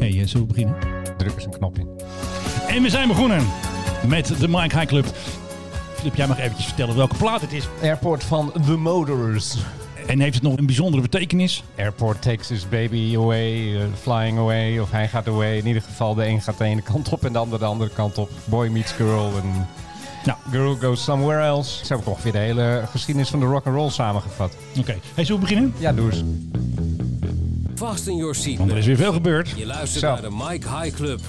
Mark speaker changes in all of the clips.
Speaker 1: eh, zullen we beginnen?
Speaker 2: Druk eens een knop in.
Speaker 1: En we zijn begonnen met de Mike High Club. Filip, jij mag eventjes vertellen welke plaat het is.
Speaker 2: Airport van The Motorers.
Speaker 1: En heeft het nog een bijzondere betekenis?
Speaker 2: Airport takes his baby away, eh, flying away, of hij gaat away. In ieder geval, de een gaat de ene kant op en de ander de andere kant op. Boy meets girl en
Speaker 1: Nou.
Speaker 2: girl goes somewhere else. Zo heb ik ongeveer de hele geschiedenis van de rock and roll samengevat.
Speaker 1: Oké, hey, zullen we beginnen?
Speaker 2: Ja, doe eens.
Speaker 3: Vast in your seat.
Speaker 1: Want er is weer veel gebeurd.
Speaker 3: Je luistert
Speaker 2: Zo.
Speaker 3: naar de Mike High Club.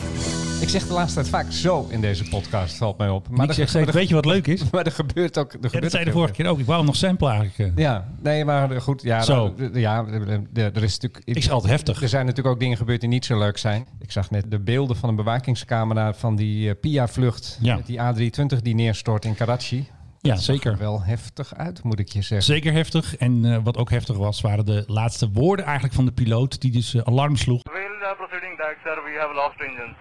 Speaker 2: Ik zeg de laatste tijd vaak zo in deze podcast, valt mij op. Maar,
Speaker 1: Nick
Speaker 2: er-
Speaker 1: zegt
Speaker 2: maar
Speaker 1: steeds,
Speaker 2: er-
Speaker 1: weet je wat leuk is?
Speaker 2: maar er gebeurt ook... Er
Speaker 1: Ja,
Speaker 2: gebeurt
Speaker 1: dat zei
Speaker 2: ook
Speaker 1: je de
Speaker 2: heel
Speaker 1: vorige
Speaker 2: veel.
Speaker 1: keer ook. Ik wou hem nog sample eigenlijk. eh.
Speaker 2: Ja, nee, maar eh, goed. Ja,
Speaker 1: Zo.
Speaker 2: d- d- ja, d- d- er is natuurlijk...
Speaker 1: Ik zeg altijd heftig.
Speaker 2: Er zijn natuurlijk ook dingen gebeurd die niet zo leuk zijn. Ik zag net de beelden van een bewakingscamera van die eh, Pia-vlucht.
Speaker 1: Ja.
Speaker 2: Met die A320 die neerstort in Karachi.
Speaker 1: Ja,
Speaker 2: Dat zag er
Speaker 1: zeker.
Speaker 2: wel heftig uit, moet ik je zeggen.
Speaker 1: Zeker heftig. En eh, wat ook heftig was, waren de laatste woorden eigenlijk van de piloot. Die dus eh, alarm sloeg.
Speaker 4: Well, uh, proceeding back, sir. We have lost engines.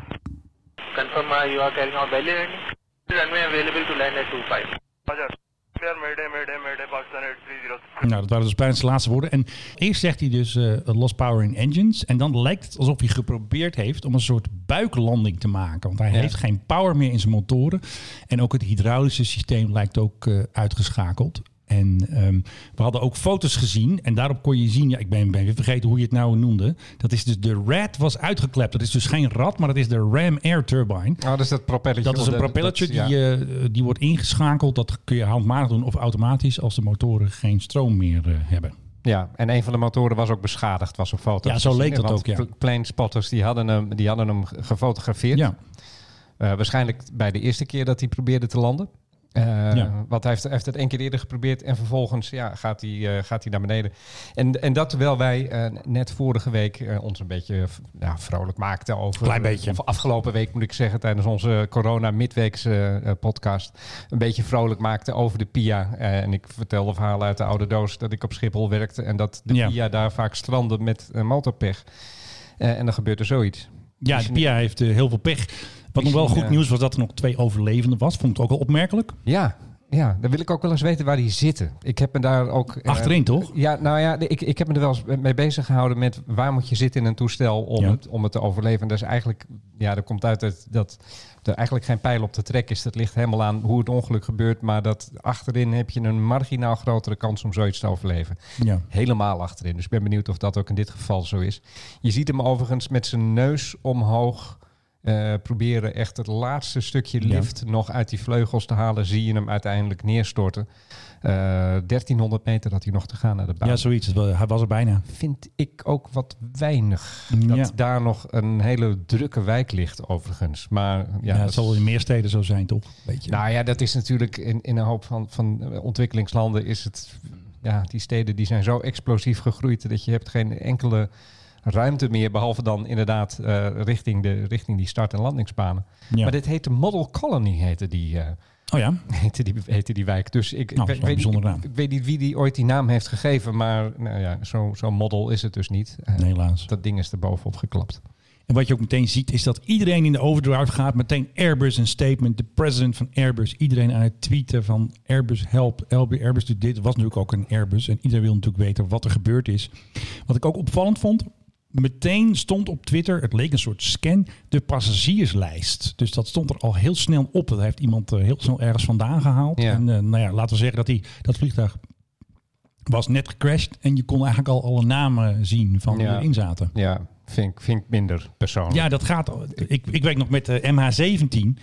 Speaker 5: Confirm uh, you are carrying out belly landing. Runway available to land at 25.
Speaker 4: Roger. Clear, Mayday, Mayday, Mayday, Pakistan 830.
Speaker 1: Nou, dat waren dus bijna zijn laatste woorden. En eerst zegt hij dus eh lost power in engines. En dan lijkt het alsof hij geprobeerd heeft om een soort buiklanding te maken. Want hij
Speaker 2: Ja.
Speaker 1: heeft geen power meer in zijn motoren. En ook het hydraulische systeem lijkt ook eh, uitgeschakeld. En ehm, we hadden ook foto's gezien. En daarop kon je zien, ja, ik ben, ben weer vergeten hoe je het nou noemde. Dat is dus de RAD was uitgeklept. Dat is dus geen rad, maar dat is de Ram Air Turbine.
Speaker 2: Oh, dat is dat propellertje.
Speaker 1: Dat is een
Speaker 2: Dat-
Speaker 1: propellertje
Speaker 2: dat- ja.
Speaker 1: die, eh, die wordt ingeschakeld. Dat kun je handmatig doen of automatisch als de motoren geen stroom meer eh, hebben.
Speaker 2: Ja, en een van de motoren was ook beschadigd, was op foto.
Speaker 1: Ja, zo leek dat
Speaker 2: Want
Speaker 1: ook, ja.
Speaker 2: pl- Planespotters die hadden hem, die hadden hem ge- gefotografeerd.
Speaker 1: Ja,
Speaker 2: Eh, waarschijnlijk bij de eerste keer dat hij probeerde te landen. Eh,
Speaker 1: Ja.
Speaker 2: Want hij heeft, hij heeft het één keer eerder geprobeerd en vervolgens ja, gaat, hij, eh, gaat hij naar beneden. En, en dat terwijl wij eh, net vorige week eh, ons een beetje eh, v- ja, vrolijk maakten over...
Speaker 1: Klein beetje.
Speaker 2: Of afgelopen week moet ik zeggen, tijdens onze corona-midweekse podcast. Een beetje vrolijk maakten over de PIA. Eh, en ik vertelde verhalen uit de oude doos dat ik op Schiphol werkte. En dat de
Speaker 1: Ja.
Speaker 2: PIA daar vaak strandde met eh, motorpech. Eh, en dan gebeurt er zoiets.
Speaker 1: ja de Pia heeft eh, heel veel pech. Wat
Speaker 2: Is
Speaker 1: nog wel
Speaker 2: niet,
Speaker 1: goed
Speaker 2: eh,
Speaker 1: nieuws was dat er nog twee overlevenden was. Vond ik ook wel opmerkelijk.
Speaker 2: Ja, ja, dan wil ik ook wel eens weten waar die zitten. Ik heb me daar ook... eh,
Speaker 1: Achterin toch?
Speaker 2: Ja, nou ja, de- ik, ik heb me er wel eens mee bezig gehouden met waar moet je zitten in een toestel om,
Speaker 1: Ja.
Speaker 2: het, om het te overleven. En dat is eigenlijk, ja, er komt uit dat, dat er eigenlijk geen pijl op te trekken is. Dat ligt helemaal aan hoe het ongeluk gebeurt, maar dat achterin heb je een marginaal grotere kans om zoiets te overleven.
Speaker 1: Ja.
Speaker 2: Helemaal achterin. Dus ik ben benieuwd of dat ook in dit geval zo is. Je ziet hem overigens met zijn neus omhoog eh, proberen echt het laatste stukje
Speaker 1: Ja.
Speaker 2: lift nog uit die vleugels te halen. Zie je hem uiteindelijk neerstorten. Eh, 1300 meter had hij nog te gaan naar de baan.
Speaker 1: ja, zoiets. Het wa- Hij was er bijna.
Speaker 2: vind ik ook wat weinig. Dat
Speaker 1: Ja.
Speaker 2: daar nog een hele drukke wijk ligt overigens. Maar ja,
Speaker 1: Ja,
Speaker 2: dat
Speaker 1: het
Speaker 2: is-
Speaker 1: zal wel in meer steden zo zijn, toch? Weet je.
Speaker 2: nou ja, dat is natuurlijk in, in een hoop van, van ontwikkelingslanden is het. Ja, die steden die zijn zo explosief gegroeid dat je hebt geen enkele ruimte meer, behalve dan inderdaad eh, richting, de, richting die start- en landingsbanen.
Speaker 1: ja.
Speaker 2: Maar dit heette Model Colony, heette die, eh,
Speaker 1: oh ja,
Speaker 2: heette die, heette die wijk. Dus ik,
Speaker 1: Nou, dat is
Speaker 2: ik,
Speaker 1: wel een
Speaker 2: weet,
Speaker 1: bijzondere
Speaker 2: ik,
Speaker 1: naam.
Speaker 2: ik weet niet wie die ooit die naam heeft gegeven, maar nou ja, zo'n zo model is het dus niet. Eh,
Speaker 1: nee, helaas.
Speaker 2: Dat ding is er bovenop geklapt.
Speaker 1: En wat je ook meteen ziet is dat iedereen in de overdrive gaat. Meteen Airbus een statement. De president van Airbus. Iedereen aan het tweeten van Airbus help. LB Airbus doet dit. was natuurlijk ook een Airbus. En iedereen wil natuurlijk weten wat er gebeurd is. Wat ik ook opvallend vond. Meteen stond op Twitter, het leek een soort scan, de passagierslijst. Dus dat stond er al heel snel op. Dat heeft iemand eh, heel snel ergens vandaan gehaald.
Speaker 2: Ja.
Speaker 1: En eh, nou ja, laten we zeggen dat die, dat vliegtuig was net gecrashed. En je kon eigenlijk al alle namen zien van wie
Speaker 2: Ja.
Speaker 1: erin zaten.
Speaker 2: Ja, vind ik, vind ik minder persoonlijk.
Speaker 1: Ja, dat gaat. al. Ik, ik weet nog met eh, de MH17.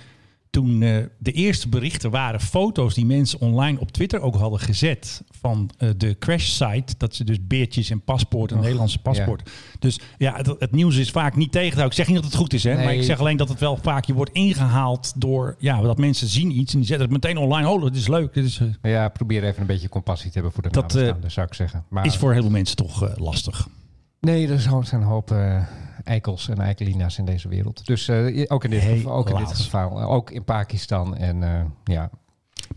Speaker 1: Toen eh, de eerste berichten waren foto's die mensen online op Twitter ook hadden gezet. van eh, de crash site. Dat ze dus beertjes en paspoort, een Nederlandse paspoort. Dus ja, het, het nieuws is vaak niet tegen. te houden. Ik zeg niet dat het goed is, hè, maar
Speaker 2: Nee.
Speaker 1: ik zeg alleen dat het wel vaak. je wordt ingehaald door. ja, dat mensen zien iets en die zetten het meteen online. Oh, dit is leuk. Dit is, eh,
Speaker 2: Ja, probeer even een beetje compassie te hebben voor de
Speaker 1: Dat, eh,
Speaker 2: dat, zou ik zeggen. Maar
Speaker 1: is voor heel veel mensen toch eh, lastig.
Speaker 2: Nee, er zijn een hoop eh, eikels en eikelina's in deze wereld. Dus eh, ook, in dit
Speaker 1: Helaas.
Speaker 2: geval, ook in dit geval. eh, Ook in Pakistan. En eh, ja,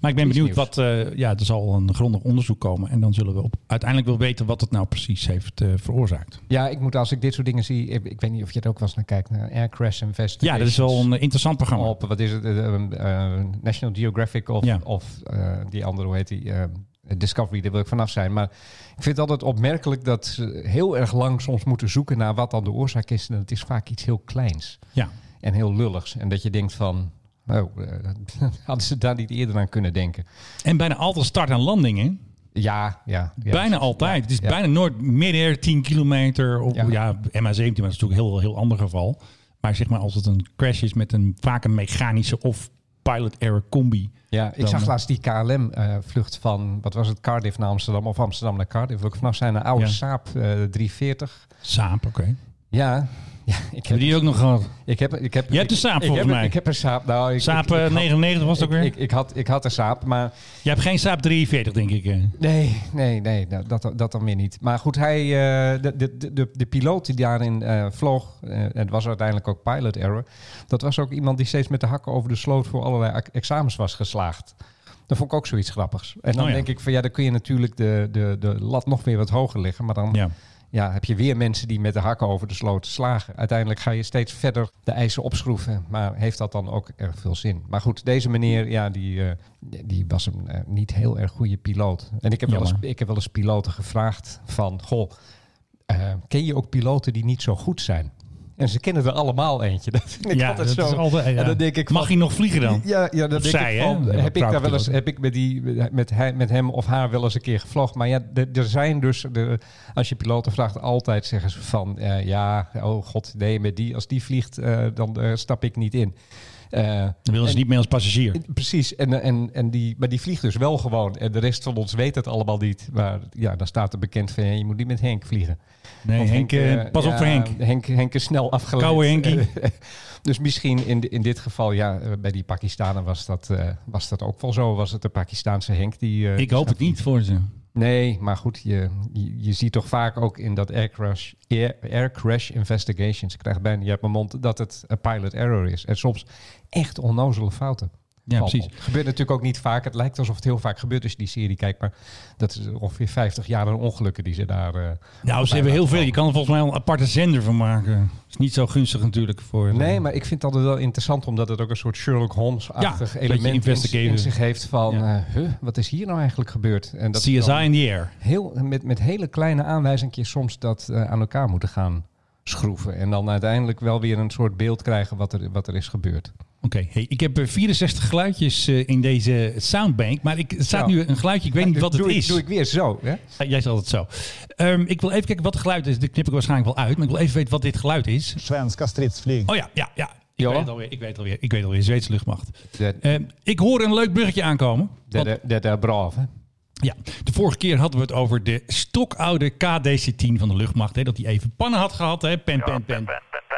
Speaker 1: Maar ik ben
Speaker 2: Iets
Speaker 1: benieuwd
Speaker 2: nieuws.
Speaker 1: wat. eh, ja, er zal een grondig onderzoek komen. En dan zullen we op, uiteindelijk wel weten wat het nou precies heeft eh, veroorzaakt.
Speaker 2: ja, ik moet als ik dit soort dingen zie... Ik, ik weet niet of je er ook wel eens naar kijkt. Naar Air Crash Investigation.
Speaker 1: Ja, dat is wel een eh, interessant programma.
Speaker 2: Op, wat is het? eh, eh, eh, National Geographic of,
Speaker 1: Ja.
Speaker 2: of eh, die andere, hoe heet die? eh, Discovery, daar wil ik vanaf zijn. Maar ik vind het altijd opmerkelijk dat ze heel erg lang soms moeten zoeken naar wat dan de oorzaak is. En het is vaak iets heel kleins
Speaker 1: Ja,
Speaker 2: en heel lulligs. En dat je denkt van, oh, eh, hadden ze daar niet eerder aan kunnen denken.
Speaker 1: en bijna altijd start en landing, hè?
Speaker 2: Ja, ja. ja.
Speaker 1: bijna altijd. het is
Speaker 2: ja.
Speaker 1: bijna nooit midden 10 kilometer. Of, ja.
Speaker 2: Ja.
Speaker 1: MH17, maar dat is natuurlijk een heel, heel ander geval. Maar zeg maar als het een crash is met een vaak een mechanische of pilot error combi.
Speaker 2: Ja, ik
Speaker 1: Dan,
Speaker 2: zag
Speaker 1: eh,
Speaker 2: laatst die KLM-vlucht van, wat was het, Cardiff naar Amsterdam of Amsterdam naar Cardiff. Wil ik vanaf zijn een oude
Speaker 1: Ja.
Speaker 2: Saab eh, 340.
Speaker 1: Saap, oké.
Speaker 2: Ja, ja ik,
Speaker 1: Heb
Speaker 2: heb,
Speaker 1: je die ook nog gehad?
Speaker 2: ik heb... Ik heb
Speaker 1: Je hebt een Saab,
Speaker 2: ik, ik
Speaker 1: volgens
Speaker 2: heb,
Speaker 1: mij.
Speaker 2: Ik heb een Saab. Nou, ik,
Speaker 1: Saap
Speaker 2: ik- ik
Speaker 1: eh,
Speaker 2: had-
Speaker 1: 99 was het ook
Speaker 2: ik,
Speaker 1: weer?
Speaker 2: ik, ik had, ik had een Saab, maar
Speaker 1: je hebt geen Saap 43, denk ik. eh. hè?
Speaker 2: nee, nee, nee, nou, dat, dat dan weer niet. Maar goed, hij, eh, de, de, de, de, de piloot die daarin eh, vloog, eh, en het was uiteindelijk ook pilot error, dat was ook iemand die steeds met de hakken over de sloot voor allerlei ac- examens was geslaagd. Dat vond ik ook zoiets grappigs. En dan
Speaker 1: Oh ja.
Speaker 2: denk ik van ja, dan kun je natuurlijk de, de, de lat nog weer wat hoger liggen, maar dan
Speaker 1: Ja.
Speaker 2: ja, heb je weer mensen die met de hakken over de sloot slagen. Uiteindelijk ga je steeds verder de eisen opschroeven. Maar heeft dat dan ook erg veel zin? Maar goed, deze meneer, ja, die, eh, die was een eh, niet heel erg goede piloot. En ik heb, wel eens,
Speaker 1: Jammer.
Speaker 2: ik heb wel eens piloten gevraagd van... Goh, eh, ken je ook piloten die niet zo goed zijn? En ze kennen er allemaal eentje. Dat vind ik
Speaker 1: Ja,
Speaker 2: altijd
Speaker 1: dat
Speaker 2: zo.
Speaker 1: is altijd.
Speaker 2: En
Speaker 1: ja.
Speaker 2: dan denk ik
Speaker 1: Mag
Speaker 2: van-
Speaker 1: hij nog vliegen dan?
Speaker 2: ja, ja dat
Speaker 1: Of
Speaker 2: denk
Speaker 1: zij,
Speaker 2: ik
Speaker 1: hè?
Speaker 2: van,
Speaker 1: Ja,
Speaker 2: Heb ik daar wel eens,
Speaker 1: trouwpiloot.
Speaker 2: heb ik met, die, met, hij, met hem of haar wel eens een keer gevlogd. Maar ja, de- er zijn dus, de, als je piloten vraagt, altijd zeggen ze van, eh, ja, oh god, nee, met die, als die vliegt, eh, dan eh, stap ik niet in. Eh,
Speaker 1: Dan willen ze niet meer als passagier.
Speaker 2: precies, en, eh, en, en die, maar die vliegt dus wel gewoon. En de rest van ons weet het allemaal niet. Maar ja, dan staat er bekend van, ja, je moet niet met Henk vliegen.
Speaker 1: Nee,
Speaker 2: Want
Speaker 1: Henk, eh,
Speaker 2: eh,
Speaker 1: pas op
Speaker 2: ja,
Speaker 1: voor Henk.
Speaker 2: Henk. Henk is snel afgeleid.
Speaker 1: Koude Henkie.
Speaker 2: dus misschien in, di- in dit geval, ja, eh, bij die Pakistanen was dat, eh, was dat ook wel zo. Was het de Pakistaanse Henk die... eh,
Speaker 1: Ik hoop het
Speaker 2: snap-
Speaker 1: niet voor ze.
Speaker 2: Nee, maar goed, je, je, je ziet toch vaak ook in dat air crash, air, air crash investigations, ik krijg het bijna niet uit mijn mond, dat het een pilot error is. En soms echt onnozele fouten.
Speaker 1: Ja,
Speaker 2: Valt
Speaker 1: precies.
Speaker 2: op. Gebeurt natuurlijk ook niet vaak. Het lijkt alsof het heel vaak gebeurt als je die serie kijkt, maar dat is ongeveer 50 jaar aan ongelukken die ze daar... eh,
Speaker 1: Nou, ze hebben heel veel. Je kan er volgens mij al een aparte zender van maken. Is niet zo gunstig natuurlijk voor. eh,
Speaker 2: Nee, maar ik vind het altijd wel interessant omdat het ook een soort Sherlock Holmes-achtig
Speaker 1: Ja, een beetje
Speaker 2: element in,
Speaker 1: investigative.
Speaker 2: in zich heeft van,
Speaker 1: Ja.
Speaker 2: eh, huh, wat is hier nou eigenlijk gebeurd? En dat ze
Speaker 1: CSI
Speaker 2: dan
Speaker 1: in the air.
Speaker 2: heel, met, met hele kleine aanwijzingjes soms dat eh, aan elkaar moeten gaan schroeven. En dan uiteindelijk wel weer een soort beeld krijgen wat er, wat er is gebeurd.
Speaker 1: Oké, hey, ik heb eh, 64 geluidjes eh, in deze soundbank, maar ik, er staat
Speaker 2: Ja.
Speaker 1: nu een geluidje, ik weet niet
Speaker 2: Doe-
Speaker 1: wat het
Speaker 2: doe ik-
Speaker 1: is.
Speaker 2: doe ik weer zo, hè?
Speaker 1: Ja, Jij zegt het zo. Ehm, ik wil even kijken wat het geluid is, dit knip ik waarschijnlijk wel uit, maar ik wil even weten wat dit geluid is.
Speaker 6: Svenska stridsflyg.
Speaker 1: Oh ja, ja, ja. Ik
Speaker 2: Ja.
Speaker 1: weet het alweer, ik weet het alweer, ik weet het alweer, Zweedse luchtmacht.
Speaker 2: De,
Speaker 1: Ehm, ik hoor een leuk bruggetje aankomen.
Speaker 2: de,
Speaker 1: want-
Speaker 2: de, de, de brave.
Speaker 1: Ja, de vorige keer hadden we het over de stokoude KDC-10 van de luchtmacht. Hè, dat hij even pannen had gehad. Hè. Pen, pen, pen.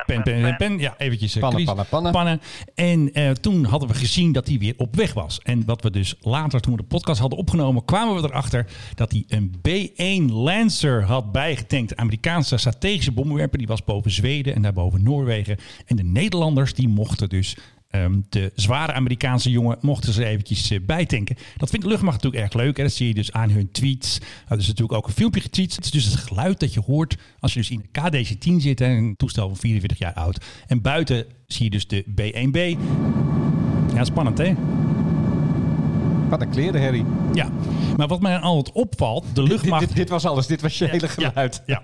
Speaker 1: Pen, pen, pen, pen. Ja, eventjes. eh,
Speaker 2: Pannen,
Speaker 1: crisis.
Speaker 2: pannen, pannen.
Speaker 1: En eh, toen hadden we gezien dat hij weer op weg was. En wat we dus later, toen we de podcast hadden opgenomen, kwamen we erachter dat hij een B-1 Lancer had bijgetankt. De Amerikaanse strategische bommenwerper. Die was boven Zweden en daarboven Noorwegen. En de Nederlanders, die mochten dus... ehm, de zware Amerikaanse jongen mochten ze eventjes eh, bijtanken. Dat vindt de luchtmacht natuurlijk erg leuk. Hè? Dat zie je dus aan hun tweets. Er is natuurlijk ook een filmpje getweet. Het is dus het geluid dat je hoort als je dus in een KDC-10 zit. Hè, een toestel van 44 jaar oud. En buiten zie je dus de B1B. Ja, spannend hè?
Speaker 2: Wat een kleren, Harry.
Speaker 1: Ja. Maar wat mij dan altijd opvalt, de
Speaker 2: Dit,
Speaker 1: luchtmacht...
Speaker 2: dit, dit was alles, dit was je hele geluid.
Speaker 1: Ja.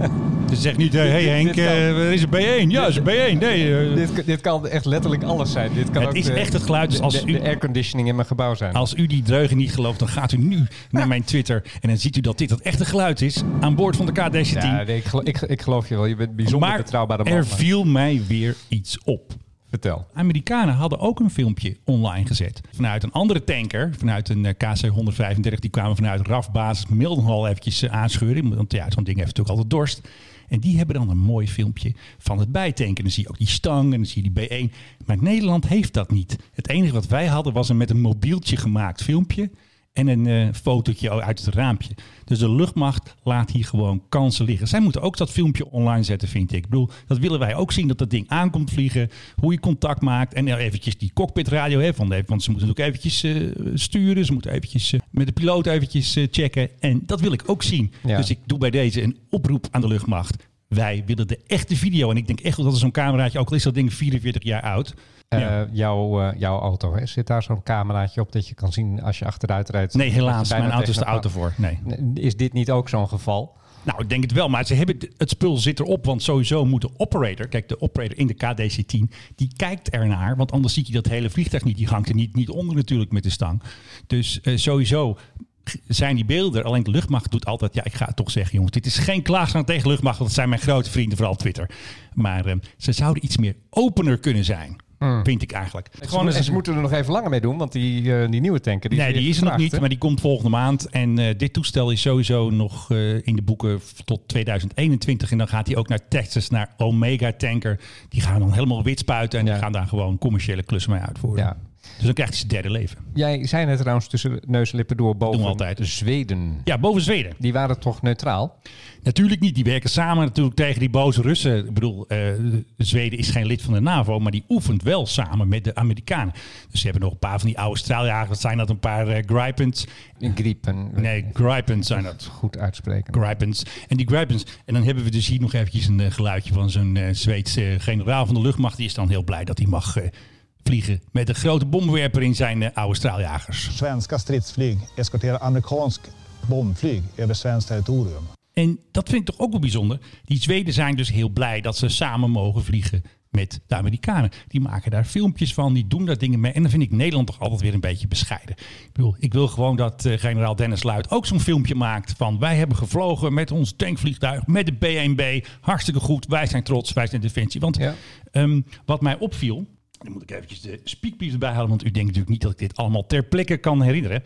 Speaker 1: Dus Ze zegt niet, hé hey,
Speaker 2: dit-
Speaker 1: Henk,
Speaker 2: dit kan.
Speaker 1: eh, er is een B1. Ja, er is een B1. Nee, eh,
Speaker 2: Dit, kan- dit kan echt letterlijk alles zijn. Dit kan
Speaker 1: Het
Speaker 2: ook
Speaker 1: is
Speaker 2: de-
Speaker 1: echt het geluid
Speaker 2: de,
Speaker 1: als
Speaker 2: de,
Speaker 1: u-
Speaker 2: de airconditioning in mijn gebouw zijn.
Speaker 1: Als u die dreugen niet gelooft, dan gaat u nu naar mijn Twitter. En dan ziet u dat dit het echte geluid is aan boord van de KDC-10.
Speaker 2: Ja, nee, ik, gelo- ik, ik geloof je wel. Je bent bijzonder
Speaker 1: maar
Speaker 2: betrouwbare man.
Speaker 1: er
Speaker 2: maar
Speaker 1: viel mij weer iets op.
Speaker 2: Vertel.
Speaker 1: Amerikanen hadden ook een filmpje online gezet. Vanuit een andere tanker, vanuit een eh, KC-135. Die kwamen vanuit RAF-basis Mildenhall eventjes eh, aanscheuren. Want ja, zo'n ding heeft natuurlijk altijd dorst. En die hebben dan een mooi filmpje van het bijtanken. Dan zie je ook die stang en dan zie je die B1. Maar Nederland heeft dat niet. Het enige wat wij hadden was een met een mobieltje gemaakt filmpje. En een eh, fotootje uit het raampje. Dus de luchtmacht laat hier gewoon kansen liggen. Zij moeten ook dat filmpje online zetten, vind ik. Ik bedoel, dat willen wij ook zien, dat dat ding aankomt vliegen. Hoe je contact maakt. En nou, eventjes die cockpitradio, hè, van de, want ze moeten ook eventjes eh, sturen. Ze moeten eventjes eh, met de piloot eventjes eh, checken. En dat wil ik ook zien.
Speaker 2: Ja.
Speaker 1: Dus ik doe bij deze een oproep aan de luchtmacht. Wij willen de echte video. En ik denk echt wel dat er zo'n cameraatje, ook al is dat ding 44 jaar oud.
Speaker 2: Eh,
Speaker 1: Ja.
Speaker 2: jouw, eh, jouw auto, hè? zit daar zo'n cameraatje op dat je kan zien als je achteruit rijdt?
Speaker 1: Nee,
Speaker 2: Dat je
Speaker 1: helaas.
Speaker 2: bijna
Speaker 1: Mijn auto is de
Speaker 2: tegen
Speaker 1: auto
Speaker 2: elkaar-
Speaker 1: voor. Nee.
Speaker 2: Nee, Is dit niet ook zo'n geval?
Speaker 1: Nou, ik denk het wel, maar ze hebben het spul zit erop, want sowieso moet de operator, kijk, de operator in de KDC-10, die kijkt ernaar, want anders zie je dat hele vliegtuig niet, die hangt er niet, niet onder natuurlijk met de stang. Dus eh, sowieso g- zijn die beelden, er. alleen de luchtmacht doet altijd, ja, ik ga het toch zeggen jongens, dit is geen klaagzang tegen de luchtmacht, want dat zijn mijn grote vrienden, vooral op Twitter. Maar eh, ze zouden iets meer opener kunnen zijn, vind ik eigenlijk.
Speaker 2: Gewoon,
Speaker 1: eens
Speaker 2: ze moeten er nog even langer mee doen, want die, eh, die nieuwe tanker... Die
Speaker 1: nee, die is er nog niet, maar die komt volgende maand. En eh, dit toestel is sowieso nog eh, in de boeken f- tot 2021. En dan gaat hij ook naar Texas, naar Omega Tanker. Die gaan dan helemaal wit spuiten en
Speaker 2: Ja.
Speaker 1: die gaan daar gewoon commerciële klussen mee uitvoeren.
Speaker 2: Ja.
Speaker 1: Dus dan krijgt hij zijn derde leven.
Speaker 2: Jij zei net trouwens tussen neus en lippen door boven
Speaker 1: Doen we altijd.
Speaker 2: Zweden.
Speaker 1: Ja, boven Zweden.
Speaker 2: Die waren toch neutraal?
Speaker 1: Natuurlijk niet. Die werken samen natuurlijk tegen die boze Russen. Ik bedoel, eh, Zweden is geen lid van de NAVO, maar die oefent wel samen met de Amerikanen. Dus ze hebben nog een paar van die oude straaljagers. Wat zijn dat? Een paar eh, Gripens.
Speaker 2: Griepen.
Speaker 1: Nee, Gripens zijn dat.
Speaker 2: Goed uitspreken.
Speaker 1: Gripens. En die Gripens. En dan hebben we dus hier nog eventjes een eh, geluidje van zo'n eh, Zweedse eh, generaal van de luchtmacht. Die is dan heel blij dat hij mag eh, vliegen met een grote bomwerper in zijn eh, oude straaljagers.
Speaker 6: Svenska stridsflyg eskorterar amerikansk bombflyg över svenskt territorium.
Speaker 1: En dat vind ik toch ook wel bijzonder. Die Zweden zijn dus heel blij dat ze samen mogen vliegen met de Amerikanen. Die maken daar filmpjes van, die doen daar dingen mee. En dan vind ik Nederland toch altijd weer een beetje bescheiden. Ik bedoel, ik wil gewoon dat eh, generaal Dennis Luit ook zo'n filmpje maakt van... wij hebben gevlogen met ons tankvliegtuig, met de B1B. Hartstikke goed, wij zijn trots, wij zijn defensie. Want
Speaker 2: Ja.
Speaker 1: ehm, wat mij opviel... Dan moet ik eventjes de speakbrief erbij halen, want u denkt natuurlijk niet dat ik dit allemaal ter plekke kan herinneren.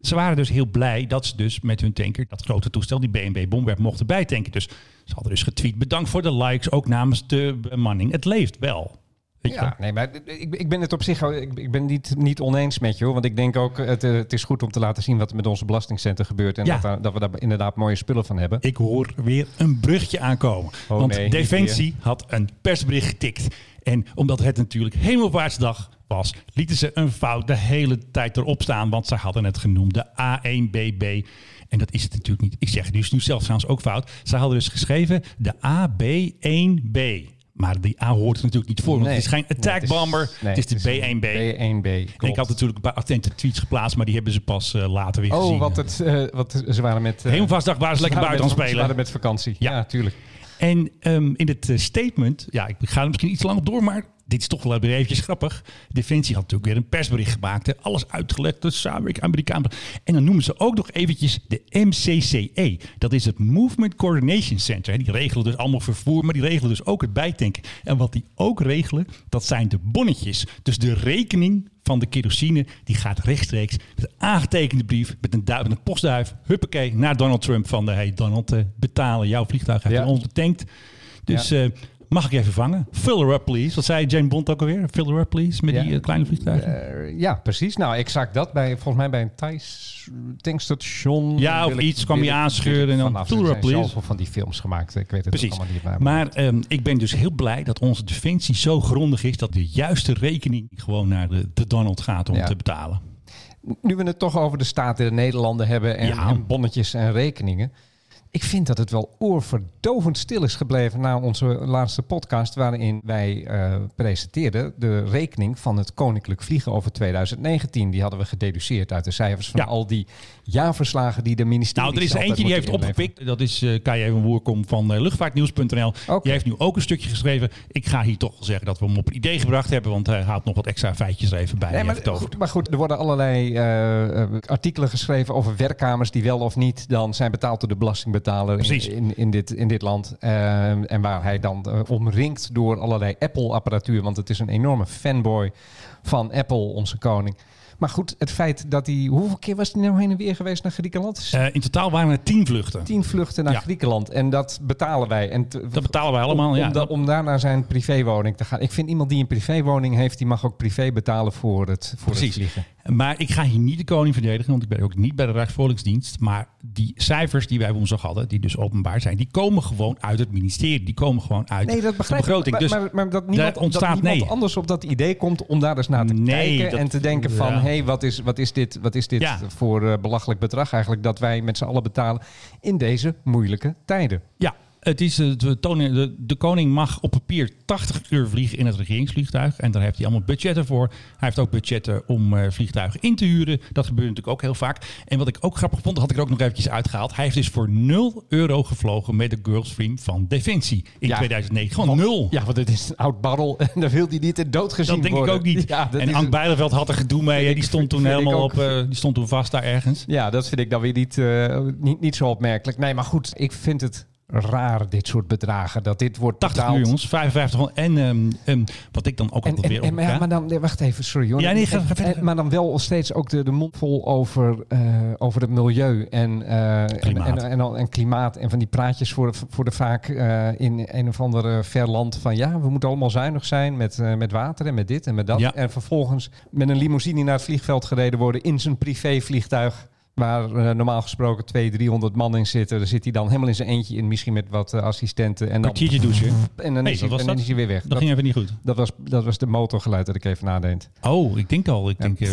Speaker 1: Ze waren dus heel blij dat ze dus met hun tanker dat grote toestel, die BNB Bomberg, mochten bijtanken. Dus ze hadden dus getweet, bedankt voor de likes, ook namens de bemanning. Het leeft wel. Weet je wel?
Speaker 2: Ja, nee, maar ik, ik ben het op zich, ik, ik ben niet, niet oneens met je hoor. Want ik denk ook, het, eh, het is goed om te laten zien wat er met onze belastingcenten gebeurt. En
Speaker 1: Ja.
Speaker 2: dat, daar- dat we daar inderdaad mooie spullen van hebben.
Speaker 1: Ik hoor weer een brugje aankomen.
Speaker 2: Oh
Speaker 1: want
Speaker 2: nee, niet
Speaker 1: Defensie had een persbericht getikt. En omdat het natuurlijk hemelvaartsdag was, lieten ze een fout de hele tijd erop staan. Want ze hadden het genoemd de A1BB. En dat is het natuurlijk niet. Ik zeg het dus nu zelf trouwens ook fout. Ze hadden dus geschreven de AB1B. Maar die A hoort er natuurlijk niet voor. Want
Speaker 2: Nee.
Speaker 1: het is geen
Speaker 2: Nee,
Speaker 1: attack bomber.
Speaker 2: nee,
Speaker 1: het is de
Speaker 2: een
Speaker 1: B1B.
Speaker 2: B1B.
Speaker 1: En ik had natuurlijk een paar attente tweets geplaatst, maar die hebben ze pas eh, later weer gezien.
Speaker 2: Oh, wat, het, eh, wat ze waren met. eh,
Speaker 1: Hemelvaartsdag waren ze lekker
Speaker 2: waren
Speaker 1: buiten aan het spelen.
Speaker 2: met- Ze waren met vakantie. Ja,
Speaker 1: Ja.
Speaker 2: tuurlijk.
Speaker 1: En ehm, in het eh, statement, ja, ik ga er misschien iets lang op door, maar dit is toch wel weer eventjes grappig. Defensie had natuurlijk weer een persbericht gemaakt, hè. alles uitgelegd, dus samenwerking Amerikaan. En dan noemen ze ook nog eventjes de MCCE. E. Dat is het Movement Coordination Center. hè. Die regelen dus allemaal vervoer, maar die regelen dus ook het bijtanken. En wat die ook regelen, dat zijn de bonnetjes. Dus de rekening van de kerosine, die gaat rechtstreeks met een aangetekende brief, met een, duif, met een postduif, huppakee, naar Donald Trump van de, hey Donald, eh, betalen, jouw vliegtuig heeft
Speaker 2: Ja.
Speaker 1: een onbetankt. Dus eh, mag ik even vangen? Fill her up, please. Wat zei Jane Bond ook alweer? Fill her up, please, met
Speaker 2: Ja.
Speaker 1: die eh, kleine vliegtuigen.
Speaker 2: Eh, ja, precies. Nou, exact dat. Bij, volgens mij bij een Thais tankstation.
Speaker 1: Ja, of
Speaker 2: Wil ik-
Speaker 1: iets kwam
Speaker 2: wil
Speaker 1: je
Speaker 2: ik-
Speaker 1: aanscheuren en dan
Speaker 2: vanaf.
Speaker 1: tour
Speaker 2: Er zijn
Speaker 1: up, please.
Speaker 2: zoveel van die films gemaakt. Ik weet het
Speaker 1: Precies.
Speaker 2: ook allemaal niet. waar.
Speaker 1: Maar ehm, ik ben dus heel blij dat onze defensie zo grondig is dat de juiste rekening gewoon naar de, de Donald gaat om
Speaker 2: Ja.
Speaker 1: te betalen.
Speaker 2: nu we het toch over de Staten der Nederlanden hebben en,
Speaker 1: Ja.
Speaker 2: en bonnetjes en rekeningen. Ik vind dat het wel oorverdovend stil is gebleven na onze laatste podcast, waarin wij eh, presenteerden de rekening van het Koninklijk Vliegen over 2019. Die hadden we gededuceerd uit de cijfers van
Speaker 1: Ja.
Speaker 2: al die jaarverslagen die de ministerie.
Speaker 1: Nou, er is eentje die heeft opgepikt. Dat is eh Kai Even Woerkom van eh, luchtvaartnieuws.nl.
Speaker 2: Oké.
Speaker 1: Die heeft nu ook een stukje geschreven. Ik ga hier toch wel zeggen dat we hem op het idee gebracht hebben. Want hij haalt nog wat extra feitjes er even bij.
Speaker 2: Nee, maar,
Speaker 1: heeft over.
Speaker 2: goed, maar goed, er worden allerlei eh, eh, artikelen geschreven over werkkamers die wel of niet dan zijn betaald door de belastingbetaler
Speaker 1: Precies.
Speaker 2: in, in, in dit, in dit land. Eh, en waar hij dan eh, omringd door allerlei Apple-apparatuur, want het is een enorme fanboy van Apple, onze koning. Maar goed, het feit dat hij... Hoeveel keer was hij nou heen en weer geweest naar Griekenland?
Speaker 1: Eh, in totaal waren er tien vluchten.
Speaker 2: Tien vluchten naar
Speaker 1: ja.
Speaker 2: Griekenland en dat betalen wij. En t-
Speaker 1: Dat betalen wij allemaal.
Speaker 2: om,
Speaker 1: ja.
Speaker 2: om, da- om daar naar zijn privéwoning te gaan. Ik vind iemand die een privéwoning heeft, die mag ook privé betalen voor het, voor het
Speaker 1: Precies.
Speaker 2: vliegen.
Speaker 1: Maar ik ga hier niet de koning verdedigen, want ik ben ook niet bij de Rijksvolksdienst. Maar die cijfers die wij woensdag hadden, die dus openbaar zijn, die komen gewoon uit het ministerie. Die komen gewoon uit
Speaker 2: Nee, dat begrijp
Speaker 1: de begroting.
Speaker 2: ik.
Speaker 1: dus
Speaker 2: Maar, maar, maar dat niemand,
Speaker 1: daar ontstaat
Speaker 2: dat niemand
Speaker 1: nee.
Speaker 2: anders op dat idee komt om daar eens naar te
Speaker 1: Nee,
Speaker 2: kijken.
Speaker 1: dat-
Speaker 2: en te denken van,
Speaker 1: ja.
Speaker 2: hé, hey, wat, is, wat is dit, wat is dit
Speaker 1: Ja.
Speaker 2: voor eh, belachelijk bedrag eigenlijk dat wij met z'n allen betalen in deze moeilijke tijden.
Speaker 1: Ja, Het is, eh, de, toning- de, de koning mag op papier 80 uur vliegen in het regeringsvliegtuig. En daar heeft hij allemaal budgetten voor. Hij heeft ook budgetten om eh, vliegtuigen in te huren. Dat gebeurt natuurlijk ook heel vaak. En wat ik ook grappig vond, dat had ik er ook nog eventjes uitgehaald. Hij heeft dus voor 0 euro gevlogen met de Girlsfream van Defensie in
Speaker 2: Ja.
Speaker 1: 2009. Gewoon nul.
Speaker 2: Ja, want het is een oud barrel en daar wil hij niet in doodgezien
Speaker 1: Dat denk
Speaker 2: worden.
Speaker 1: ik ook niet.
Speaker 2: Ja, dat
Speaker 1: en
Speaker 2: is
Speaker 1: Ank
Speaker 2: een-
Speaker 1: Bijleveld had er gedoe mee. hè. Die stond toen
Speaker 2: vind ik
Speaker 1: helemaal
Speaker 2: ook.
Speaker 1: op, eh, die stond toen vast daar ergens.
Speaker 2: Ja, dat vind ik dan weer niet, eh, niet, niet zo opmerkelijk. Nee, maar goed, ik vind het raar, dit soort bedragen. Dat dit wordt
Speaker 1: 80
Speaker 2: betaald.
Speaker 1: uur, jongens. 55. gewoon. En ehm, ehm, wat ik dan ook
Speaker 2: En,
Speaker 1: altijd
Speaker 2: en,
Speaker 1: weer
Speaker 2: en-
Speaker 1: op
Speaker 2: maar, ja,
Speaker 1: elkaar-
Speaker 2: maar dan, nee, wacht even, sorry hoor.
Speaker 1: Ja, nee, ga- ga
Speaker 2: En-
Speaker 1: verder.
Speaker 2: en- maar dan wel steeds ook de, de mond vol over, eh, over het milieu en, eh, en,
Speaker 1: Klimaat.
Speaker 2: en, en, dan- en klimaat. En van die praatjes voor de, voor de vaak eh, in een of ander ver land van ja, we moeten allemaal zuinig zijn met, eh, met water en met dit en met dat.
Speaker 1: Ja.
Speaker 2: En vervolgens met een limousine naar het vliegveld gereden worden in zijn privévliegtuig. Waar eh, normaal gesproken 200, 300 man in zitten. Daar zit hij dan helemaal in zijn eentje in, misschien met wat eh, assistenten. En dan,
Speaker 1: kwartiertje douchen.
Speaker 2: en dan,
Speaker 1: Hey,
Speaker 2: is,
Speaker 1: wat
Speaker 2: hij,
Speaker 1: was
Speaker 2: en dan
Speaker 1: dat?
Speaker 2: is hij weer weg.
Speaker 1: Dat ging even niet goed.
Speaker 2: Dat was, dat was de motorgeluid dat ik even nadeed.
Speaker 1: Oh, ik denk al. Ik denk, eh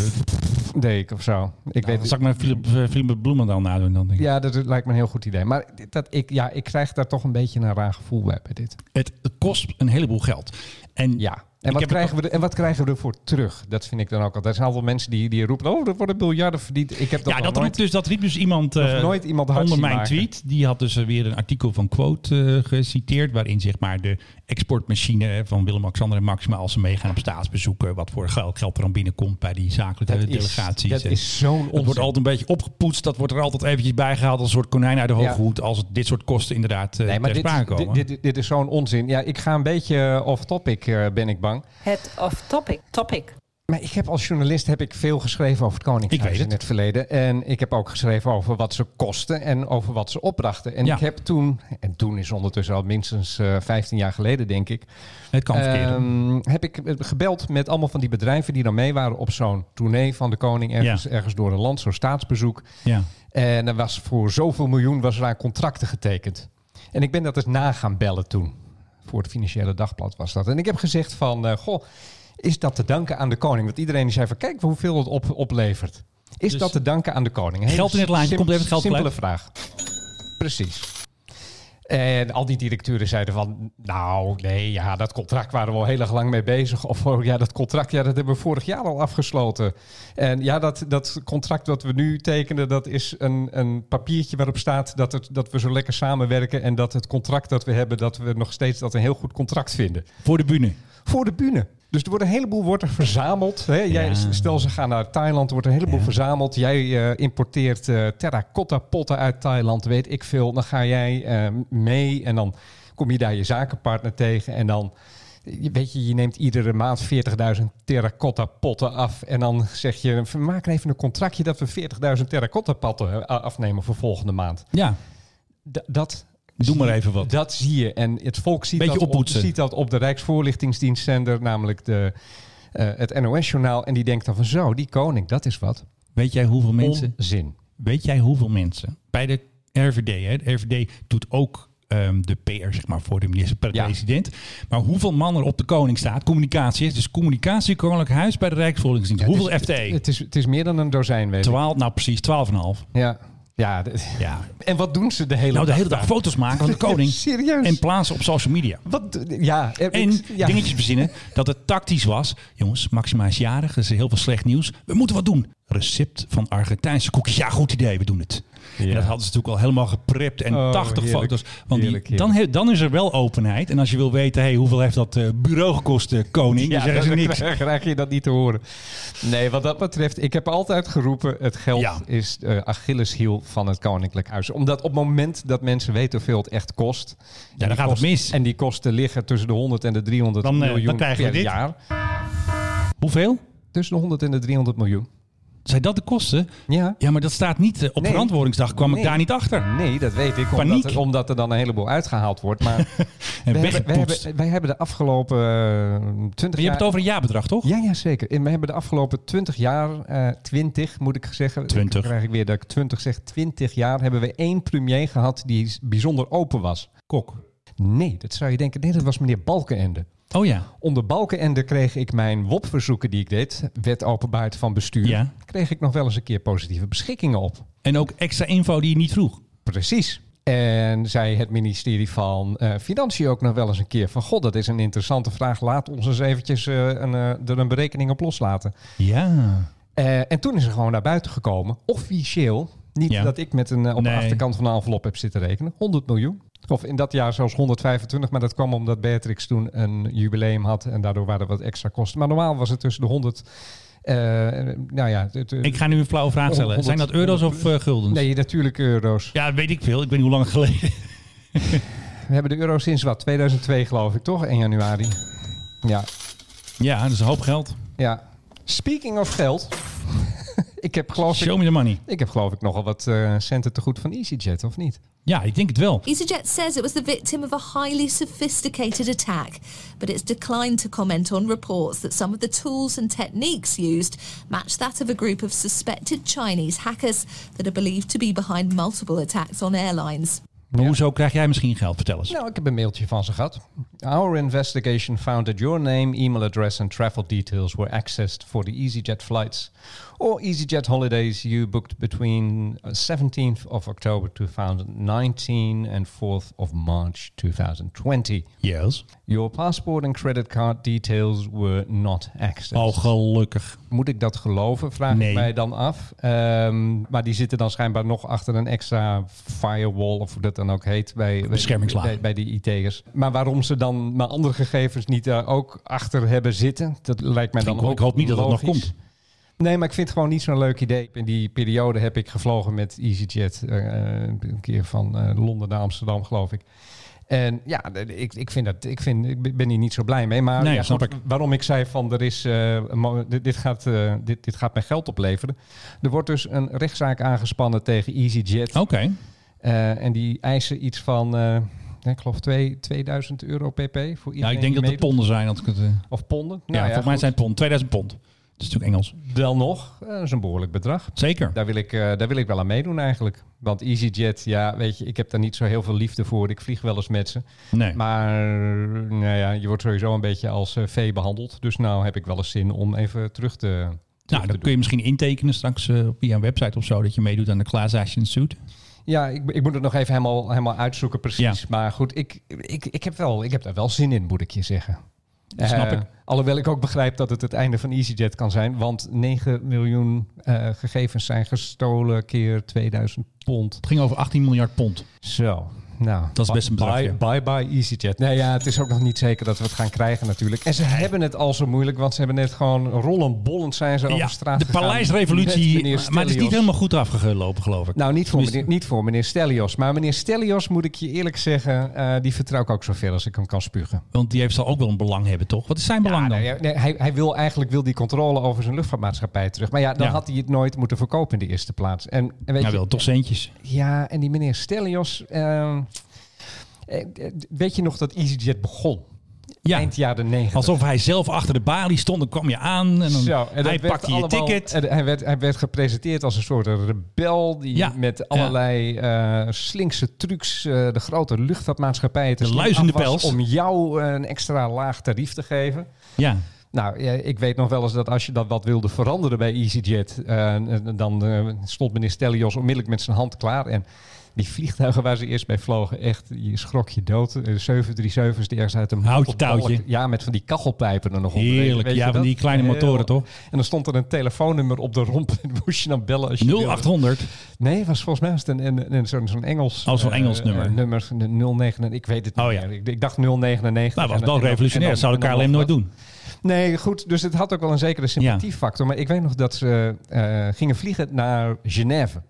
Speaker 2: Deed ik of zo. Ik weet
Speaker 1: Nou, dan
Speaker 2: het.
Speaker 1: zal ik mijn Philip, eh, Philip Bloemendaal nadoen dan denk ik.
Speaker 2: Ja, dat lijkt me een heel goed idee. Maar dit- dat, ik, ja, ik krijg daar toch een beetje een raar gevoel bij bij dit.
Speaker 1: Het, het kost een heleboel geld. En
Speaker 2: Ja.
Speaker 1: Ik
Speaker 2: En wat,
Speaker 1: heb
Speaker 2: krijgen we er, en wat krijgen we ervoor terug? Dat vind ik dan ook altijd. Er zijn altijd mensen die, die roepen, oh, er worden miljarden verdiend. Ik heb dat,
Speaker 1: ja,
Speaker 2: nog
Speaker 1: dat, riep
Speaker 2: nooit,
Speaker 1: dus, dat riep dus iemand, eh,
Speaker 2: nog nooit iemand hard
Speaker 1: onder
Speaker 2: zien
Speaker 1: mijn
Speaker 2: maken.
Speaker 1: tweet. Die had dus eh, weer een artikel van Quote eh, geciteerd. Waarin zeg maar de exportmachine eh, van Willem-Alexander en Maxima. als ze meegaan op staatsbezoeken. wat voor geld, geld er dan binnenkomt bij die zakelijke
Speaker 2: Dat is-
Speaker 1: delegaties. eh.
Speaker 2: dat
Speaker 1: En
Speaker 2: is zo'n
Speaker 1: Het wordt
Speaker 2: onzin.
Speaker 1: altijd een beetje opgepoetst. Dat wordt er altijd eventjes bijgehaald. als een soort konijn uit de hoge
Speaker 2: Ja.
Speaker 1: hoed. als het, dit soort kosten inderdaad eh
Speaker 2: Nee, maar
Speaker 1: ter sprake
Speaker 2: dit,
Speaker 1: komen.
Speaker 2: dit, dit, dit is zo'n onzin. Ja, ik ga een beetje off-topic, eh, ben ik bang.
Speaker 7: Het off-topic. Topic.
Speaker 2: Maar ik heb als journalist heb ik veel geschreven over het Koningshuis
Speaker 1: Ik weet het.
Speaker 2: in het verleden. En ik heb ook geschreven over wat ze kosten en over wat ze opdrachten. En
Speaker 1: Ja.
Speaker 2: ik heb toen, en toen is ondertussen al minstens eh 15 jaar geleden denk ik,
Speaker 1: het kan verkeren.
Speaker 2: ehm, heb ik eh, gebeld met allemaal van die bedrijven die dan mee waren op zo'n tournee van de koning ergens,
Speaker 1: Ja.
Speaker 2: ergens door een land, zo'n staatsbezoek.
Speaker 1: ja.
Speaker 2: En er was voor zoveel miljoen was er aan contracten getekend. En ik ben dat eens na gaan bellen toen. Voor het Financiële Dagblad was dat. En ik heb gezegd van, eh, goh, is dat te danken aan de koning? Want iedereen die zei van, kijk hoeveel het op, oplevert. Is
Speaker 1: Dus
Speaker 2: dat te danken aan de koning? Hele
Speaker 1: geld in het laantje,
Speaker 2: sim-
Speaker 1: komt even het geld
Speaker 2: Simpele vraag. Precies. En al die directeuren zeiden van, nou nee, ja, dat contract waren we al heel erg lang mee bezig. Of oh, ja, dat contract, ja, dat hebben we vorig jaar al afgesloten. En ja, dat, dat contract wat we nu tekenen, dat is een, een papiertje waarop staat dat, het, dat we zo lekker samenwerken. En dat het contract dat we hebben, dat we nog steeds dat een heel goed contract vinden.
Speaker 1: Voor de bühne.
Speaker 2: Voor de bühne. Dus er wordt een heleboel wordt er verzameld. Hè? Jij, Stel, ze gaan naar Thailand, er wordt een heleboel verzameld. Jij eh, importeert eh, terracotta potten uit Thailand, weet ik veel. Dan ga jij eh, mee en dan kom je daar je zakenpartner tegen. En dan, je- weet je, je neemt iedere maand 40.000 terracotta potten af. En dan zeg je, we maken even een contractje dat we 40.000 terracotta potten eh, afnemen voor volgende maand.
Speaker 1: Ja,
Speaker 2: D- dat
Speaker 1: doe maar even wat.
Speaker 2: dat zie je. En het volk ziet,
Speaker 1: Beetje
Speaker 2: dat op,
Speaker 1: oppoetsen.
Speaker 2: ziet dat op de Rijksvoorlichtingsdienstzender, namelijk de, eh, het NOS-journaal. En die denkt dan van zo, die koning, dat is wat.
Speaker 1: Weet jij hoeveel mensen...
Speaker 2: Onzin.
Speaker 1: Weet jij hoeveel mensen bij de RVD, hè? de RVD doet ook ehm, de PR zeg maar, voor de minister-president. Maar hoeveel man er op de koning staat, communicatie is, dus communicatie Koninklijk Huis bij de Rijksvolksdienst. hoeveel
Speaker 2: Het is-
Speaker 1: FTE?
Speaker 2: Het is, het is meer dan een dozijn, weet ik.
Speaker 1: 12, nou precies, 12,5.
Speaker 2: Ja. Ja, d-
Speaker 1: Ja.
Speaker 2: en wat doen ze de hele
Speaker 1: Nou, de
Speaker 2: dag?
Speaker 1: hele dag
Speaker 2: daar?
Speaker 1: foto's maken van de koning.
Speaker 2: Serieus?
Speaker 1: En plaatsen op social media.
Speaker 2: Wat, d- ja, eh,
Speaker 1: En
Speaker 2: ik- ja.
Speaker 1: dingetjes verzinnen dat het tactisch was. Jongens, Maxima is jarig, dat is heel veel slecht nieuws. We moeten wat doen. Recept van Argentijnse koekjes. Ja, goed idee, we doen het. En dat hadden ze natuurlijk al helemaal geprept en
Speaker 2: Oh,
Speaker 1: 80
Speaker 2: heerlijk.
Speaker 1: foto's. Want die,
Speaker 2: Heerlijk, heerlijk.
Speaker 1: Dan, he- dan is er wel openheid. En als je wil weten, hey, hoeveel heeft dat eh, bureau gekost, eh, koning?
Speaker 2: Ja,
Speaker 1: dan zeggen ze
Speaker 2: dan
Speaker 1: niks.
Speaker 2: krijg- krijg je dat niet te horen. Nee, wat dat betreft, ik heb altijd geroepen: het geld
Speaker 1: Ja.
Speaker 2: is eh Achilleshiel van het Koninklijk Huis. Omdat op het moment dat mensen weten hoeveel het echt kost. en die
Speaker 1: gaat het
Speaker 2: kost-
Speaker 1: mis.
Speaker 2: En die kosten liggen tussen de 100 en de 300
Speaker 1: Dan, eh, dan
Speaker 2: miljoen
Speaker 1: krijgen we
Speaker 2: per
Speaker 1: dit.
Speaker 2: jaar.
Speaker 1: Hoeveel?
Speaker 2: Tussen de 100 en de 300 miljoen.
Speaker 1: Zijn dat de kosten?
Speaker 2: Ja.
Speaker 1: Ja, maar dat staat niet. eh, op
Speaker 2: Nee.
Speaker 1: verantwoordingsdag kwam
Speaker 2: Nee.
Speaker 1: ik daar niet achter.
Speaker 2: Nee, dat weet ik.
Speaker 1: Paniek.
Speaker 2: Omdat er, omdat er dan een heleboel uitgehaald wordt. Maar
Speaker 1: En
Speaker 2: we hebben,
Speaker 1: weggepoetst.
Speaker 2: wij, hebben, wij hebben de afgelopen eh, 20
Speaker 1: je hebt
Speaker 2: jaar.
Speaker 1: het over een jaarbedrag, toch?
Speaker 2: Ja, ja, zeker. En we hebben de afgelopen 20 jaar, eh 20 moet ik zeggen.
Speaker 1: 20.
Speaker 2: Dan krijg ik weer dat ik 20 zeg. 20 jaar hebben we één premier gehad die s- bijzonder open was.
Speaker 1: Kok.
Speaker 2: Nee, dat zou je denken. Nee, dat was meneer Balkenende.
Speaker 1: Oh ja.
Speaker 2: Onder Balkenende kreeg ik mijn WOP-verzoeken die ik deed, wet openbaarheid van bestuur,
Speaker 1: Ja.
Speaker 2: kreeg ik nog wel eens een keer positieve beschikkingen op.
Speaker 1: En ook extra info die je niet vroeg.
Speaker 2: Precies. En zei het ministerie van eh, Financiën ook nog wel eens een keer van... God, dat is een interessante vraag. Laat ons eens eventjes eh, een, eh, er een berekening op loslaten.
Speaker 1: Ja.
Speaker 2: Eh, en toen is er gewoon naar buiten gekomen, officieel. Niet
Speaker 1: Ja.
Speaker 2: dat ik met een, eh, op
Speaker 1: Nee.
Speaker 2: de achterkant van een envelop heb zitten rekenen. 100 miljoen. Of in dat jaar zelfs 125. Maar dat kwam omdat Beatrix toen een jubileum had. En daardoor waren er wat extra kosten. Maar normaal was het tussen de 100... eh, nou ja, het, eh,
Speaker 1: Ik ga nu een flauwe vraag stellen. Zijn dat euro's of eh, guldens?
Speaker 2: nee, natuurlijk euro's.
Speaker 1: Ja, weet ik veel. Ik weet niet hoe lang geleden.
Speaker 2: We hebben de euro sinds wat? 2002 geloof ik, toch? 1 januari. Ja.
Speaker 1: Ja, dat is een hoop geld.
Speaker 2: ja. Speaking of geld. ik, heb geloof ik,
Speaker 1: Show me the money.
Speaker 2: ik heb geloof ik nogal wat eh, centen te goed van EasyJet, of niet?
Speaker 1: Ja, ik denk het wel.
Speaker 8: EasyJet says it was the victim of a highly sophisticated attack, but it's declined to comment on reports that some of the tools and techniques used match that of a group of suspected Chinese hackers that are believed to be behind multiple attacks on airlines.
Speaker 1: Maar hoezo krijg jij misschien geld? Vertel eens.
Speaker 2: Nou, ik heb een mailtje van ze gehad. Our investigation found that your name, email address and travel details were accessed for the EasyJet flights or EasyJet holidays you booked between uh, 17th of October 2019 and 4th of March 2020.
Speaker 1: Yes.
Speaker 2: Your passport and credit card details were not accessed.
Speaker 1: Oh, gelukkig.
Speaker 2: Moet ik dat geloven, vraag
Speaker 1: Nee.
Speaker 2: ik mij dan af. Ehm, maar die zitten dan schijnbaar nog achter een extra firewall, of hoe dat dan ook heet, bij,
Speaker 1: Beschermingslaag.
Speaker 2: bij, bij die IT'ers. Maar waarom ze dan maar andere gegevens niet daar ook achter hebben zitten, dat lijkt mij dan
Speaker 1: Ik,
Speaker 2: ook
Speaker 1: ik hoop niet dat dat nog
Speaker 2: logisch.
Speaker 1: komt.
Speaker 2: Nee, maar ik vind het gewoon niet zo'n leuk idee. In die periode heb ik gevlogen met EasyJet. eh, een keer van eh, Londen naar Amsterdam, geloof ik. En ja, de- de- ik, ik, vind dat, ik, vind, ik ben hier niet zo blij mee. Maar
Speaker 1: Nee,
Speaker 2: ja,
Speaker 1: snap
Speaker 2: goed,
Speaker 1: ik.
Speaker 2: waarom ik zei van er is, eh, een mo- dit, dit gaat, eh, dit, dit gaat mijn geld opleveren. Er wordt dus een rechtszaak aangespannen tegen EasyJet.
Speaker 1: Oké.
Speaker 2: Eh, en die eisen iets van, eh, ik geloof, twee- 2000 euro pp. Voor
Speaker 1: Ja,
Speaker 2: iedereen
Speaker 1: ik denk
Speaker 2: die Nou
Speaker 1: dat het
Speaker 2: meedoet.
Speaker 1: ponden zijn. Als ik het, eh,
Speaker 2: Of ponden.
Speaker 1: ja, volgens mij zijn het pond. 2000 pond. Dat is natuurlijk Engels.
Speaker 2: Wel nog, eh, dat is een behoorlijk bedrag.
Speaker 1: Zeker.
Speaker 2: Daar wil, ik, eh, daar wil ik wel aan meedoen eigenlijk. Want EasyJet, ja, weet je, ik heb daar niet zo heel veel liefde voor. Ik vlieg wel eens met ze.
Speaker 1: Nee.
Speaker 2: Maar nou ja, je wordt sowieso een beetje als eh, vee behandeld. Dus nou heb ik wel eens zin om even terug te... terug
Speaker 1: nou,
Speaker 2: te
Speaker 1: dan kun je misschien intekenen straks eh, via een website of zo. Dat je meedoet aan de Class Action Suit.
Speaker 2: Ja, ik, ik moet het nog even helemaal, helemaal uitzoeken precies. Maar goed, ik, ik, ik, heb wel, ik heb daar wel zin in, moet ik je zeggen.
Speaker 1: snap
Speaker 2: Eh,
Speaker 1: ik.
Speaker 2: Alhoewel ik ook begrijp dat het het einde van EasyJet kan zijn. Want 9 miljoen eh, gegevens zijn gestolen keer 2000 pond.
Speaker 1: Het ging over 18 miljard pond.
Speaker 2: Zo. Nou,
Speaker 1: Dat is best een
Speaker 2: bye,
Speaker 1: bedrag,
Speaker 2: bye bye EasyJet. Nee, ja, het is ook nog niet zeker dat we het gaan krijgen natuurlijk. En ze hebben het al zo moeilijk, want ze hebben net gewoon rollend bollend zijn ze
Speaker 1: Ja,
Speaker 2: over straat
Speaker 1: de
Speaker 2: gegaan met
Speaker 1: paleisrevolutie. eh,
Speaker 2: meneer
Speaker 1: Maar het is niet
Speaker 2: Stelios.
Speaker 1: helemaal goed afgelopen, geloof ik.
Speaker 2: Nou, niet voor,
Speaker 1: Tenminste-
Speaker 2: meneer, niet voor meneer Stelios. Maar meneer Stelios, moet ik je eerlijk zeggen, eh, die vertrouw ik ook zover als ik hem kan spugen. Ah,
Speaker 1: Want die heeft zal ook wel een belang hebben, toch? Wat is zijn belang dan?
Speaker 2: Nee, nee, hij, hij wil eigenlijk wil die controle over zijn luchtvaartmaatschappij terug. Maar ja, dan
Speaker 1: Ja.
Speaker 2: had hij het nooit moeten verkopen in de eerste plaats. En, en weet
Speaker 1: Hij
Speaker 2: je,
Speaker 1: wil toch centjes.
Speaker 2: Ja, en die meneer Stelios. ehm, eh, eh, weet je nog dat EasyJet begon?
Speaker 1: Ja,
Speaker 2: Eind jaren 90.
Speaker 1: alsof hij zelf achter de balie stond. Dan kwam je aan en dan
Speaker 2: Zo, en dat
Speaker 1: hij
Speaker 2: werd
Speaker 1: pakte je
Speaker 2: allemaal-
Speaker 1: ticket.
Speaker 2: en hij, werd, hij werd gepresenteerd als een soort rebel die
Speaker 1: Ja,
Speaker 2: met allerlei eh, slinkse trucs eh, de grote luchtvaartmaatschappijen te
Speaker 1: De
Speaker 2: slim
Speaker 1: luizende
Speaker 2: af was
Speaker 1: pels.
Speaker 2: om jou een extra laag tarief te geven.
Speaker 1: ja.
Speaker 2: Nou, ja, ik weet nog wel eens dat als je dat wat wilde veranderen bij EasyJet, eh, dan eh, stond meneer Stelios onmiddellijk met zijn hand klaar. En die vliegtuigen waar ze eerst bij vlogen, echt, je schrok je dood. Eh, 737's die ergens uit een
Speaker 1: Houtje
Speaker 2: balk-
Speaker 1: touwtje.
Speaker 2: Ja, met van die kachelpijpen er nog op.
Speaker 1: Heerlijk.
Speaker 2: Weet je
Speaker 1: Ja, van
Speaker 2: dat?
Speaker 1: die kleine
Speaker 2: Heel-
Speaker 1: motoren, toch?
Speaker 2: En dan stond er een telefoonnummer op de romp en moest je dan bellen als je wilde.
Speaker 1: 0800.
Speaker 2: Nee, was volgens mij was het een, een, een, zo'n, zo'n Engels...
Speaker 1: Oh, zo'n
Speaker 2: eh,
Speaker 1: Engels
Speaker 2: eh,
Speaker 1: nummer.
Speaker 2: nummer, de 09, ik weet het niet
Speaker 1: Oh, ja.
Speaker 2: meer. Ik, ik dacht 099.
Speaker 1: Nou, was
Speaker 2: En dan-
Speaker 1: wel
Speaker 2: en dan-
Speaker 1: revolutionair.
Speaker 2: en
Speaker 1: Dat
Speaker 2: dan-
Speaker 1: zou de
Speaker 2: en dan
Speaker 1: KLM nooit
Speaker 2: nog wat.
Speaker 1: doen.
Speaker 2: Nee, goed. Dus het had ook wel een zekere sympathiefactor. Maar ik weet nog dat ze eh, gingen vliegen naar Genève.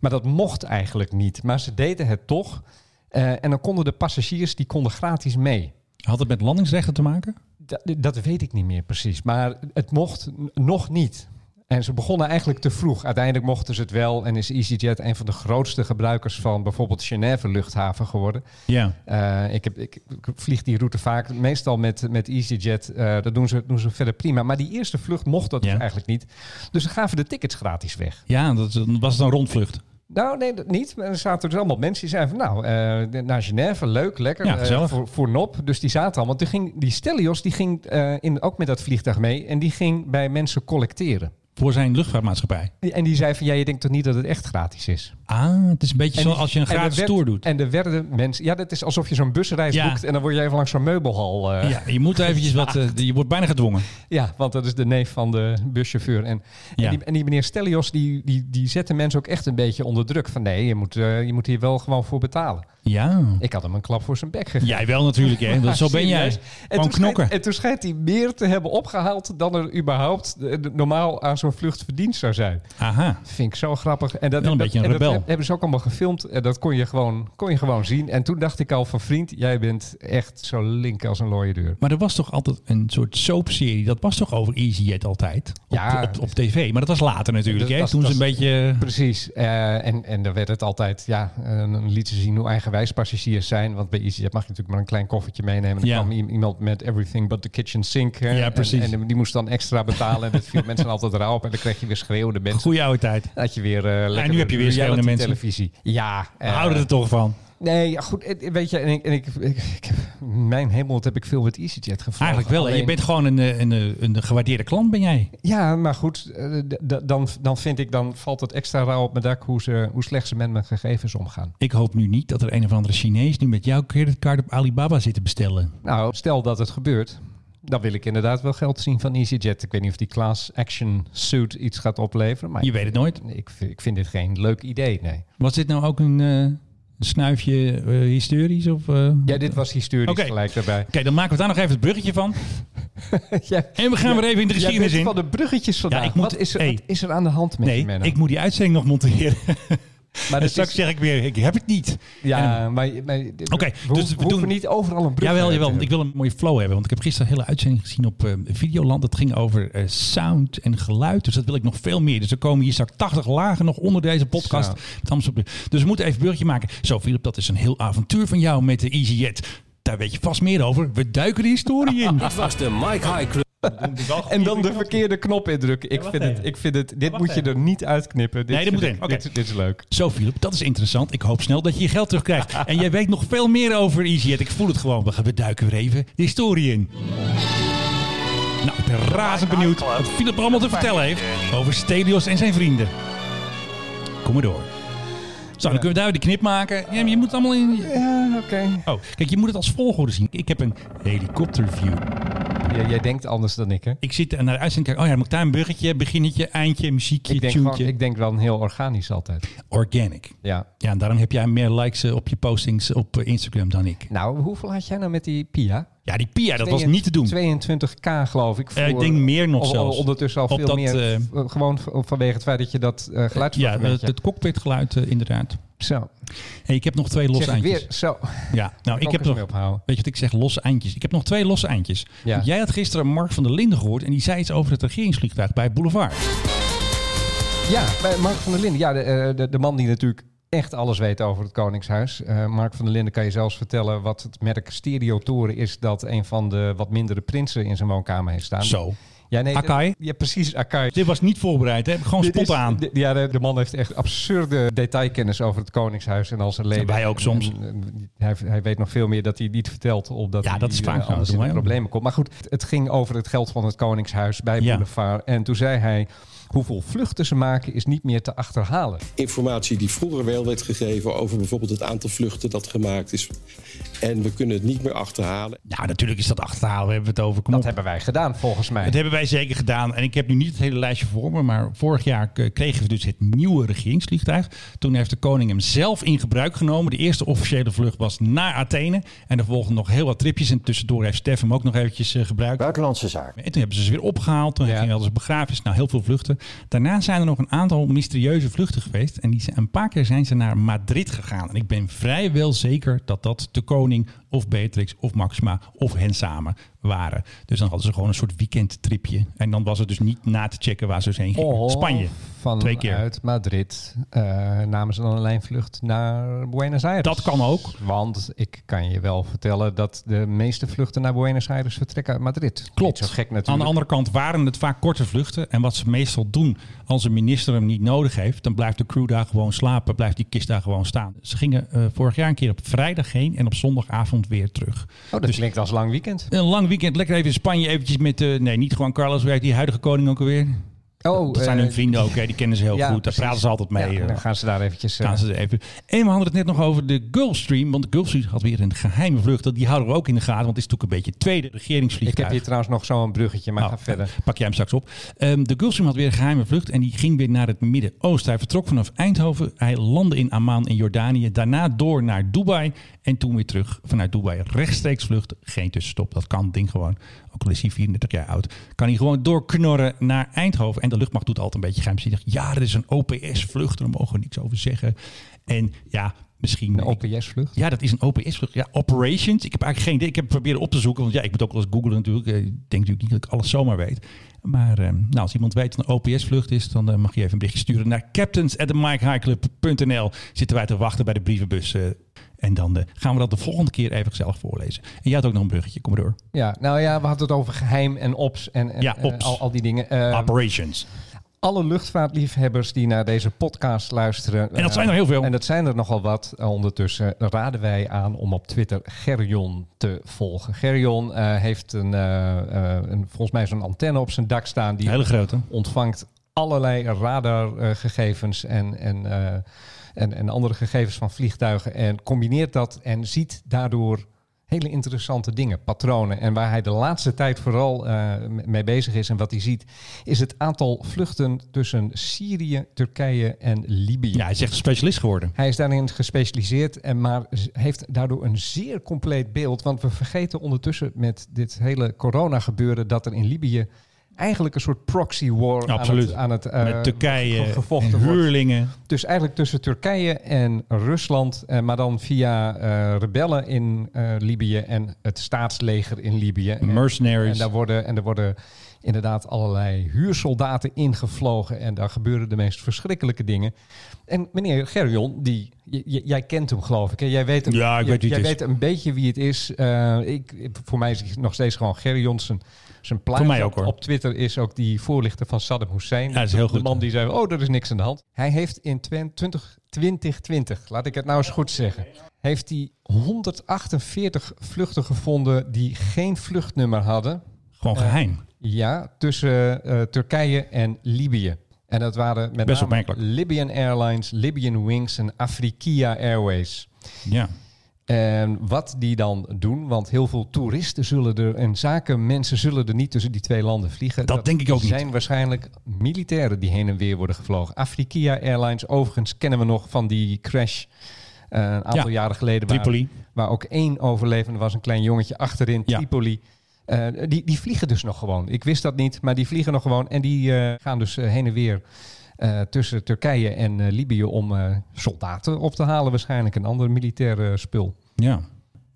Speaker 2: Maar dat mocht eigenlijk niet. Maar ze deden het toch. Eh, en dan konden de passagiers die konden gratis mee.
Speaker 1: Had het met landingsrechten te maken?
Speaker 2: Dat, dat weet ik niet meer precies. Maar het mocht n- nog niet. En ze begonnen eigenlijk te vroeg. Uiteindelijk mochten ze het wel. En is EasyJet een van de grootste gebruikers van bijvoorbeeld Genève luchthaven geworden.
Speaker 1: Ja.
Speaker 2: Eh, ik, heb, ik, ik vlieg die route vaak, meestal met, met EasyJet. Eh, dat doen ze, doen ze verder prima. Maar die eerste vlucht mocht dat
Speaker 1: Ja.
Speaker 2: dus eigenlijk niet. Dus ze gaven de tickets gratis weg.
Speaker 1: Ja, dat is- was het een rondvlucht.
Speaker 2: Nou, nee, dat niet. Maar er zaten dus allemaal mensen die zeiden van... nou, eh, naar Genève, leuk, lekker,
Speaker 1: Ja,
Speaker 2: eh,
Speaker 1: gezellig.
Speaker 2: voor, voor Nop. Dus die zaten allemaal. Toen ging, die Stelios die ging eh, in, ook met dat vliegtuig mee... en die ging bij mensen collecteren.
Speaker 1: door zijn luchtvaartmaatschappij.
Speaker 2: En die zei van, ja, je denkt toch niet dat het echt gratis is?
Speaker 1: Ah, het is een beetje
Speaker 2: En
Speaker 1: zoals als je een
Speaker 2: en er
Speaker 1: gratis
Speaker 2: werd-
Speaker 1: tour doet.
Speaker 2: En er werden mensen... Ja, dat is alsof je zo'n busreis
Speaker 1: Ja.
Speaker 2: boekt en dan word je even langs zo'n meubelhal. eh,
Speaker 1: ja, je moet eventjes wat, eh, je wordt bijna gedwongen.
Speaker 2: Ja, want dat is de neef van de buschauffeur. En,
Speaker 1: Ja.
Speaker 2: en, die, en die meneer Stelios, die, die, die zette mensen ook echt een beetje onder druk. Van nee, je moet, eh, je moet hier wel gewoon voor betalen.
Speaker 1: Ja.
Speaker 2: Ik had hem een klap voor zijn bek gegeven.
Speaker 1: Jij wel natuurlijk, hè. Dat, zo ben jij.
Speaker 2: Serieus. En
Speaker 1: Gewoon
Speaker 2: toen, schijnt,
Speaker 1: knokken.
Speaker 2: en toen schijnt hij meer te hebben opgehaald dan er überhaupt eh, normaal aan zo'n vlucht verdiend zou zijn.
Speaker 1: Aha.
Speaker 2: Vind ik zo grappig. En dat,
Speaker 1: Wel een
Speaker 2: dat-
Speaker 1: beetje een
Speaker 2: en dat
Speaker 1: rebel.
Speaker 2: heb- hebben ze ook allemaal gefilmd. En dat kon je, gewoon, kon je gewoon zien. En toen dacht ik al van vriend, jij bent echt zo link als een looie deur.
Speaker 1: Maar er was toch altijd een soort soapserie. Dat was toch over EasyJet altijd? Op,
Speaker 2: Ja.
Speaker 1: op, op tv. Maar dat was later natuurlijk,
Speaker 2: Dat-
Speaker 1: hè.
Speaker 2: dat-
Speaker 1: Toen ze
Speaker 2: dat-
Speaker 1: een beetje...
Speaker 2: Precies. Eh, en, en dan werd het altijd, ja, eh, dan lieten ze zien hoe eigenwijs passagiers zijn. Want bij EasyJet mag je natuurlijk maar een klein koffertje meenemen. Dan
Speaker 1: Ja.
Speaker 2: kwam i- iemand met everything but the kitchen sink. hè.
Speaker 1: Ja,
Speaker 2: En-
Speaker 1: precies.
Speaker 2: En, die moest dan extra betalen. en dat viel mensen altijd rauw op. En dan kreeg je weer schreeuwende mensen.
Speaker 1: Goeie oude tijd.
Speaker 2: Dan had je weer eh lekker
Speaker 1: nu heb je weer
Speaker 2: reality
Speaker 1: schreeuwende mensen.
Speaker 2: televisie. Ja.
Speaker 1: We
Speaker 2: eh,
Speaker 1: houden er toch van.
Speaker 2: Nee, ja, goed. eh, Weet je, en ik, en ik, ik, ik heb- mijn hemel, wat heb ik veel met EasyJet gevraagd.
Speaker 1: Eigenlijk wel. hè. Je bent gewoon een, eh, een, eh, een gewaardeerde klant, ben jij.
Speaker 2: Ja, maar goed, eh, d- d- dan, dan vind ik, dan valt het extra rauw op mijn dak hoe, ze, hoe slecht ze met mijn gegevens omgaan.
Speaker 1: Ik hoop nu niet dat er een of andere Chinees nu met jouw creditcard op Alibaba zit te bestellen.
Speaker 2: Nou, stel dat het gebeurt, dan wil ik inderdaad wel geld zien van EasyJet. Ik weet niet of die class action suit iets gaat opleveren, maar
Speaker 1: Je weet het nooit.
Speaker 2: ik, vind- ik vind dit geen leuk idee, nee.
Speaker 1: Was dit nou ook een eh, snuifje eh, historisch? Of, eh?
Speaker 2: Ja, dit was historisch
Speaker 1: Oké.
Speaker 2: gelijk daarbij.
Speaker 1: Oké, dan maken we daar nog even het bruggetje van. En we gaan weer even in de
Speaker 2: Jij bent
Speaker 1: geschiedenis in.
Speaker 2: van de bruggetjes vandaag.
Speaker 1: Ja, ik moet-
Speaker 2: wat, is er,
Speaker 1: hey.
Speaker 2: wat is er aan de hand met je,
Speaker 1: Nee,
Speaker 2: Menno?
Speaker 1: ik moet die uitzending nog monteren.
Speaker 2: maar
Speaker 1: en
Speaker 2: dat
Speaker 1: straks
Speaker 2: is,
Speaker 1: zeg ik weer, ik heb het niet.
Speaker 2: ja, maar, maar dit-
Speaker 1: Oké,
Speaker 2: we,
Speaker 1: dus
Speaker 2: hoeven-
Speaker 1: we
Speaker 2: we hoeven
Speaker 1: doen-
Speaker 2: niet overal een brug.
Speaker 1: Jawel, jawel, want ik wil een mooie flow hebben. Want ik heb gisteren een hele uitzending gezien op eh, Videoland. Dat ging over eh, sound en geluid. Dus dat wil ik nog veel meer. Dus er komen hier straks 80 lagen nog onder deze podcast.
Speaker 2: Zo.
Speaker 1: Met Amsterdam. Dus we moeten even burgertje maken. Zo, Philip, dat is een heel avontuur van jou met de EasyJet. Daar weet je vast meer over. We duiken de historie in.
Speaker 3: Dit was de Mike High Club.
Speaker 2: En dan de verkeerde knop indrukken. Ik,
Speaker 1: Ja,
Speaker 2: vind
Speaker 1: wacht
Speaker 2: het, ik vind het, dit
Speaker 1: wacht
Speaker 2: moet je
Speaker 1: even.
Speaker 2: er niet uitknippen. Dit
Speaker 1: Nee, dit
Speaker 2: vind
Speaker 1: moet
Speaker 2: ik-
Speaker 1: in. Oké.
Speaker 2: dit- Dit is leuk.
Speaker 1: Zo, Philip, dat is interessant. Ik hoop snel dat je je geld terugkrijgt. En jij weet nog veel meer over EasyJet. Ik voel het gewoon. We gaan we duiken weer even de historie in. Nou, ik ben razend benieuwd wat Philip allemaal te vertellen heeft over Stelios en zijn vrienden. Kom maar door. Zo, dan kunnen we daar weer de knip maken. Ja, maar je moet het allemaal in...
Speaker 2: Ja, Ah, oké.
Speaker 1: Oh, kijk, je moet het als volgorde zien. Ik heb een helikopterview.
Speaker 2: Ja, jij denkt anders dan ik, hè?
Speaker 1: Ik zit naar de uitzending kijken. Oh ja, dan moet ik daar een bruggetje, beginnetje, eindje, muziekje,
Speaker 2: Ik denk,
Speaker 1: tunetje.
Speaker 2: gewoon, ik denk wel een heel organisch altijd.
Speaker 1: Organic.
Speaker 2: Ja.
Speaker 1: Ja, en daarom heb jij meer likes eh, op je postings op eh, Instagram dan ik.
Speaker 2: Nou, hoeveel had jij nou met die Pia?
Speaker 1: Ja, die Pia, dat was niet te doen.
Speaker 2: 22k geloof ik.
Speaker 1: Eh, ik denk meer nog
Speaker 2: Of- of
Speaker 1: zelfs.
Speaker 2: Ondertussen al
Speaker 1: Op
Speaker 2: veel
Speaker 1: dat,
Speaker 2: meer.
Speaker 1: eh,
Speaker 2: v- gewoon v- vanwege het feit dat je dat eh geluid
Speaker 1: Ja, het, het cockpitgeluid eh, inderdaad.
Speaker 2: Zo.
Speaker 1: Hey, ik heb nog twee
Speaker 2: Zeg
Speaker 1: losse
Speaker 2: ik
Speaker 1: eindjes.
Speaker 2: weer. Zo.
Speaker 1: Ja, nou, ik heb
Speaker 2: Focus
Speaker 1: nog...
Speaker 2: mee ophouden.
Speaker 1: Weet je wat ik zeg? Losse eindjes. Ik heb nog twee losse eindjes.
Speaker 2: Ja.
Speaker 1: Want Jij had gisteren Mark van der Linden gehoord en die zei iets over het regeringsvliegtuig bij Boulevard.
Speaker 2: Ja, bij Mark van der Linden. Ja, de, eh, de, de man die natuurlijk echt alles weet over het Koningshuis. Eh, Mark van der Linden kan je zelfs vertellen wat het merk Stereotoren is... dat een van de wat mindere prinsen in zijn woonkamer heeft staan.
Speaker 1: Zo.
Speaker 2: Ja, nee,
Speaker 1: Akai?
Speaker 2: Ja, precies, Akai.
Speaker 1: Dit was niet voorbereid, hè? Gewoon
Speaker 2: Dit
Speaker 1: spot
Speaker 2: is-
Speaker 1: aan.
Speaker 2: di- ja, de, de man heeft echt absurde detailkennis over het Koningshuis en al zijn leden.
Speaker 1: Ja, wij ook soms.
Speaker 2: En, en, eh, hij, hij weet nog veel meer dat hij niet vertelt, omdat
Speaker 1: Ja,
Speaker 2: hij
Speaker 1: dat is
Speaker 2: eh,
Speaker 1: vaak zo,
Speaker 2: anders
Speaker 1: dat doen
Speaker 2: in de
Speaker 1: wij ook.
Speaker 2: problemen komt. Maar goed, het- het ging over het geld van het Koningshuis bij
Speaker 1: Ja.
Speaker 2: Boulevard. En toen zei hij, hoeveel vluchten ze maken is niet meer te achterhalen.
Speaker 9: informatie die vroeger wel werd gegeven over bijvoorbeeld het aantal vluchten dat gemaakt is. En we kunnen het niet meer achterhalen.
Speaker 1: Nou, natuurlijk is dat achterhalen. We hebben het over. Kom
Speaker 2: Dat
Speaker 1: op.
Speaker 2: hebben wij gedaan, volgens mij.
Speaker 1: Dat hebben wij zeker gedaan. En ik heb nu niet het hele lijstje voor me. Maar vorig jaar k- kregen we dus het nieuwe regeringsvliegtuig. Toen heeft de koning hem zelf in gebruik genomen. De eerste officiële vlucht was naar Athene. En er volgen nog heel wat tripjes. En tussendoor heeft Stef hem ook nog eventjes eh, gebruikt.
Speaker 10: Buitenlandse zaak.
Speaker 1: En toen hebben ze ze weer opgehaald. Toen
Speaker 2: Ja.
Speaker 1: ging hadden ze begrafenis. Nou, heel veel vluchten. Daarna zijn er nog een aantal mysterieuze vluchten geweest. En die zijn, een paar keer zijn ze naar Madrid gegaan. En ik ben vrijwel zeker dat dat de koning of Beatrix of Maxima of hen samen waren. Dus dan hadden ze gewoon een soort weekendtripje. En dan was het dus niet na te checken waar ze dus heen gingen.
Speaker 2: Of
Speaker 1: Spanje.
Speaker 2: Vanuit
Speaker 1: Twee keer.
Speaker 2: Madrid eh, namen ze dan een lijnvlucht naar Buenos Aires.
Speaker 1: Dat kan ook.
Speaker 2: Want ik kan je wel vertellen dat de meeste vluchten naar Buenos Aires vertrekken uit Madrid.
Speaker 1: Klopt.
Speaker 2: Niet zo gek
Speaker 1: Aan de
Speaker 2: natuurlijk.
Speaker 1: andere kant waren het vaak korte vluchten. En wat ze meestal doen, als een minister hem niet nodig heeft, dan blijft de crew daar gewoon slapen, blijft die kist daar gewoon staan. Ze gingen eh, vorig jaar een keer op vrijdag heen en op zondagavond weer terug.
Speaker 2: Oh, dat klinkt als lang weekend.
Speaker 1: Een lang weekend, lekker even in Spanje, eventjes met, eh, nee, niet gewoon Carlos, hoe heet die huidige koning ook alweer?
Speaker 2: Oh,
Speaker 1: dat zijn
Speaker 2: eh,
Speaker 1: hun vrienden ook, hè? die kennen ze heel
Speaker 2: ja,
Speaker 1: goed. Daar
Speaker 2: precies.
Speaker 1: praten ze altijd mee.
Speaker 2: Ja,
Speaker 1: eh,
Speaker 2: dan gaan ze daar eventjes... eh,
Speaker 1: gaan ze er even. En we hadden het net nog over de Gulfstream. Want de Gulfstream had weer een geheime vlucht. Dat- Die houden we ook in de gaten. Want het is natuurlijk een beetje het tweede
Speaker 2: ik
Speaker 1: regeringsvliegtuig.
Speaker 2: heb hier trouwens nog zo'n bruggetje, maar
Speaker 1: Oh,
Speaker 2: ga verder.
Speaker 1: Pak jij hem straks op. Ehm, de Gulfstream had weer een geheime vlucht en die ging weer naar het Midden-Oosten. Hij vertrok vanaf Eindhoven. Hij landde in Amman in Jordanië. Daarna door naar Dubai. En toen weer terug vanuit Dubai. Rechtstreeks vlucht. Geen tussenstop. Dat kan het ding gewoon. Ook al is hij 34 jaar oud. Kan hij gewoon doorknorren naar Eindhoven. En de luchtmacht doet altijd een beetje geheimzinnig. Ja, er is een OPS-vlucht. Daar mogen we niks over zeggen. En ja, misschien...
Speaker 2: Een OPS-vlucht.
Speaker 1: Ja, dat is een OPS-vlucht. Ja, operations. Ik heb eigenlijk geen idee. Ik heb het proberen op te zoeken. Want ja, ik moet ook wel eens googlen natuurlijk. Eh, Ik denk natuurlijk niet dat ik alles zomaar weet. Maar ehm, nou, als iemand weet wat een OPS-vlucht is... dan eh, mag je even een berichtje sturen naar captains.mikehighclub.nl. Zitten wij te wachten bij de brievenbus. eh, en dan eh, gaan we dat de volgende keer even gezellig voorlezen. En jij had ook nog een bruggetje. Kom maar door.
Speaker 2: Ja, nou ja, we hadden het over geheim en ops en, en
Speaker 1: Ja,
Speaker 2: eh,
Speaker 1: ops.
Speaker 2: al, al die dingen. Eh,
Speaker 1: operations.
Speaker 2: alle luchtvaartliefhebbers die naar deze podcast luisteren.
Speaker 1: En dat
Speaker 2: eh,
Speaker 1: zijn er heel veel.
Speaker 2: En dat zijn er nogal wat. Eh, ondertussen raden wij aan om op Twitter Gerjon te volgen. Gerjon eh, heeft een, eh, eh, een, volgens mij zo'n antenne op zijn dak staan. Die
Speaker 1: Een hele grote.
Speaker 2: ontvangt allerlei radargegevens en, en, eh, en, en andere gegevens van vliegtuigen. En combineert dat en ziet daardoor hele interessante dingen, patronen. En waar hij de laatste tijd vooral eh, m- mee bezig is en wat hij ziet, is het aantal vluchten tussen Syrië, Turkije en Libië.
Speaker 1: Ja, hij is echt een specialist geworden.
Speaker 2: Hij is daarin gespecialiseerd, en maar z- heeft daardoor een zeer compleet beeld. Want we vergeten ondertussen met dit hele corona-gebeuren dat er in Libië eigenlijk een soort proxy war aan
Speaker 1: Absoluut.
Speaker 2: het, aan het eh,
Speaker 1: Met Turkije,
Speaker 2: ge-
Speaker 1: en
Speaker 2: gevochten wordt.
Speaker 1: huurlingen.
Speaker 2: Dus eigenlijk tussen Turkije en Rusland, eh, maar dan via eh, rebellen in eh, Libië en het staatsleger in Libië. En- en
Speaker 1: Mercenaries.
Speaker 2: daar worden, en er worden inderdaad allerlei huursoldaten ingevlogen. En daar gebeuren de meest verschrikkelijke dingen. En meneer Gerjon, die, j- j- jij kent hem geloof ik. Hè? Jij weet, hem,
Speaker 1: Ja, ik
Speaker 2: j-
Speaker 1: weet wie
Speaker 2: jij
Speaker 1: het is.
Speaker 2: weet een beetje wie het is. Eh, ik, ik- voor mij is hij nog steeds gewoon Gerjon. Zijn, zijn plaats
Speaker 1: Voor mij ook, hoor.
Speaker 2: op Twitter is ook die voorlichter van Saddam Hussein.
Speaker 1: Ja, dat is heel
Speaker 2: de,
Speaker 1: goed.
Speaker 2: man die zei, oh, er is niks aan de hand. Hij heeft in 2020, 2020 laat ik het nou eens goed zeggen heeft hij 148 vluchten gevonden die geen vluchtnummer hadden.
Speaker 1: Gewoon
Speaker 2: eh,
Speaker 1: geheim.
Speaker 2: Ja, tussen eh, Turkije en Libië. En dat waren met
Speaker 1: Best
Speaker 2: name
Speaker 1: opmerkelijk.
Speaker 2: Libyan Airlines, Libyan Wings en Afrikia Airways.
Speaker 1: Ja.
Speaker 2: En wat die dan doen, want heel veel toeristen zullen er en zakenmensen zullen er niet tussen die twee landen vliegen.
Speaker 1: Dat denk ik ook niet.
Speaker 2: zijn waarschijnlijk militairen die heen en weer worden gevlogen. Afrikia Airlines, overigens kennen we nog van die crash eh, een aantal
Speaker 1: Ja,
Speaker 2: jaren geleden. waar-
Speaker 1: Tripoli.
Speaker 2: Waar, ook één overlevende was, een klein jongetje achterin,
Speaker 1: Ja.
Speaker 2: Tripoli. Eh, die, die vliegen dus nog gewoon. Ik wist dat niet, maar die vliegen nog gewoon. En die eh, gaan dus eh, heen en weer eh, tussen Turkije en eh, Libië om eh, soldaten op te halen. Waarschijnlijk een ander militaire spul.
Speaker 1: Ja.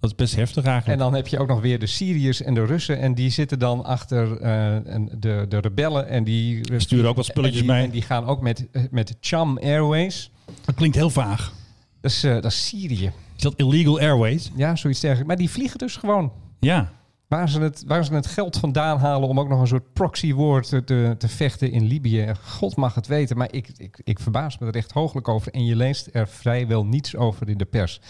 Speaker 1: Dat is best heftig eigenlijk.
Speaker 2: En dan heb je ook nog weer de Syriërs en de Russen. En die zitten dan achter eh, en de, de rebellen. En die
Speaker 1: Sturen ook wat spulletjes
Speaker 2: en die,
Speaker 1: mee.
Speaker 2: En die gaan ook met, eh, met Cham Airways.
Speaker 1: dat klinkt heel vaag.
Speaker 2: Dat is, eh, dat is Syrië.
Speaker 1: Is dat Illegal Airways?
Speaker 2: Ja, zoiets dergelijks. Maar die vliegen dus gewoon.
Speaker 1: Ja.
Speaker 2: Waar ze, het, waar ze het geld vandaan halen om ook nog een soort proxy-war te, te, te vechten in Libië. God mag het weten, maar ik, ik, ik verbaas me er echt hooglijk over. En je leest er vrijwel niets over in de pers.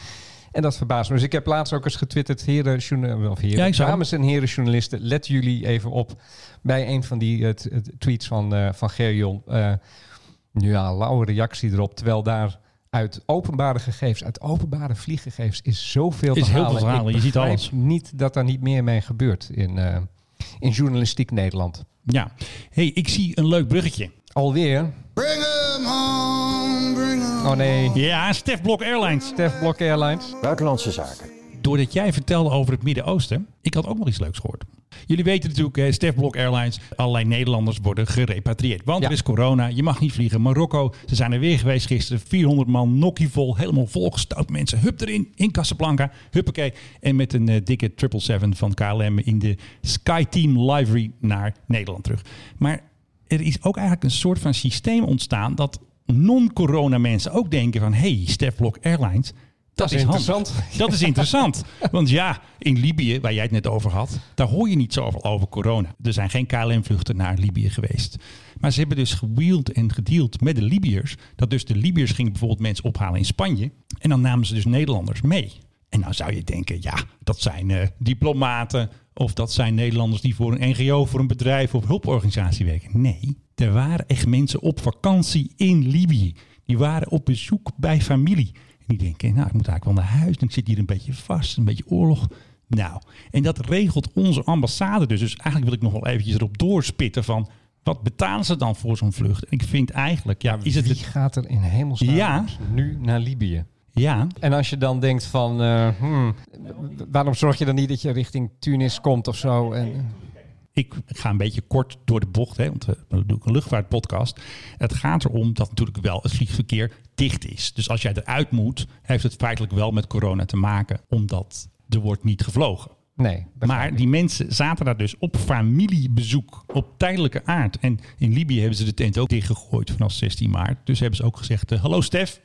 Speaker 2: En dat verbaast me. Dus ik heb laatst ook eens getwitterd, heren, journa- of heren
Speaker 1: Ja, ik zag
Speaker 2: dames en heren journalisten, let jullie even op bij een van die eh, t- eh, tweets van, eh, van Gerjon. Eh, nu ja, lauwe reactie erop. Terwijl daar uit openbare gegevens, uit openbare vlieggegevens, is zoveel
Speaker 1: Is
Speaker 2: te
Speaker 1: heel
Speaker 2: halen.
Speaker 1: veel te halen.
Speaker 2: Ik
Speaker 1: Je ziet
Speaker 2: begrijp
Speaker 1: alles.
Speaker 2: niet dat daar niet meer mee gebeurt in, eh, in journalistiek Nederland.
Speaker 1: Ja. hey, ik zie een leuk bruggetje.
Speaker 2: Alweer. Oh nee.
Speaker 1: Ja, Stef Blok Airlines.
Speaker 2: Stef Blok Airlines.
Speaker 10: Buitenlandse zaken.
Speaker 1: Doordat jij vertelde over het Midden-Oosten, ik had ook nog iets leuks gehoord. Jullie weten natuurlijk, eh, Stef Blok Airlines, allerlei Nederlanders worden gerepatrieerd. Want
Speaker 2: Ja.
Speaker 1: er is corona, je mag niet vliegen. Marokko, ze zijn er weer geweest gisteren. 400 man, nokkievol, helemaal volgestouwd mensen. Hup erin, in Casablanca, huppakee. En met een eh, dikke 777 van KLM in de Skyteam Livery naar Nederland terug. Maar er is ook eigenlijk een soort van systeem ontstaan dat non-corona mensen ook denken van hey, Stef Blok Airlines, dat,
Speaker 2: is
Speaker 1: is interessant.
Speaker 2: interessant.
Speaker 1: Dat is interessant. Want ja, in Libië, waar jij het net over had, daar hoor je niet zoveel over corona. Er zijn geen KLM-vluchten naar Libië geweest. Maar ze hebben dus gewield en gedeeld met de Libiërs. Dat dus de Libiërs gingen bijvoorbeeld mensen ophalen in Spanje. En dan namen ze dus Nederlanders mee. En nou zou je denken, ja, dat zijn eh, diplomaten, Of dat zijn Nederlanders die voor een NGO, voor een bedrijf of hulporganisatie werken. Nee, er waren echt mensen op vakantie in Libië. Die waren op bezoek bij familie. En die denken, nou, ik moet eigenlijk wel naar huis. En ik zit hier een beetje vast, een beetje oorlog. Nou, en dat regelt onze ambassade dus. Dus eigenlijk wil ik nog wel eventjes erop doorspitten van... wat betalen ze dan voor zo'n vlucht? En ik vind eigenlijk, ja, is het...
Speaker 2: Wie
Speaker 1: het
Speaker 2: gaat er in hemelsnaam
Speaker 1: Ja.
Speaker 2: nu naar Libië?
Speaker 1: ja,
Speaker 2: En als je dan denkt van, eh, hmm, waarom zorg je dan niet dat je richting Tunis komt of zo? En, eh,
Speaker 1: ik ga een beetje kort door de bocht, hè, want eh, we doen een luchtvaartpodcast. Het gaat erom dat natuurlijk wel het vliegverkeer dicht is. Dus als jij eruit moet, heeft het feitelijk wel met corona te maken, omdat er wordt niet gevlogen.
Speaker 2: nee, begrijp
Speaker 1: Maar
Speaker 2: ik.
Speaker 1: die mensen zaten daar dus op familiebezoek, op tijdelijke aard. En in Libië hebben ze de tent ook dichtgegooid vanaf 16 maart. Dus hebben ze ook gezegd, eh, hallo Stef,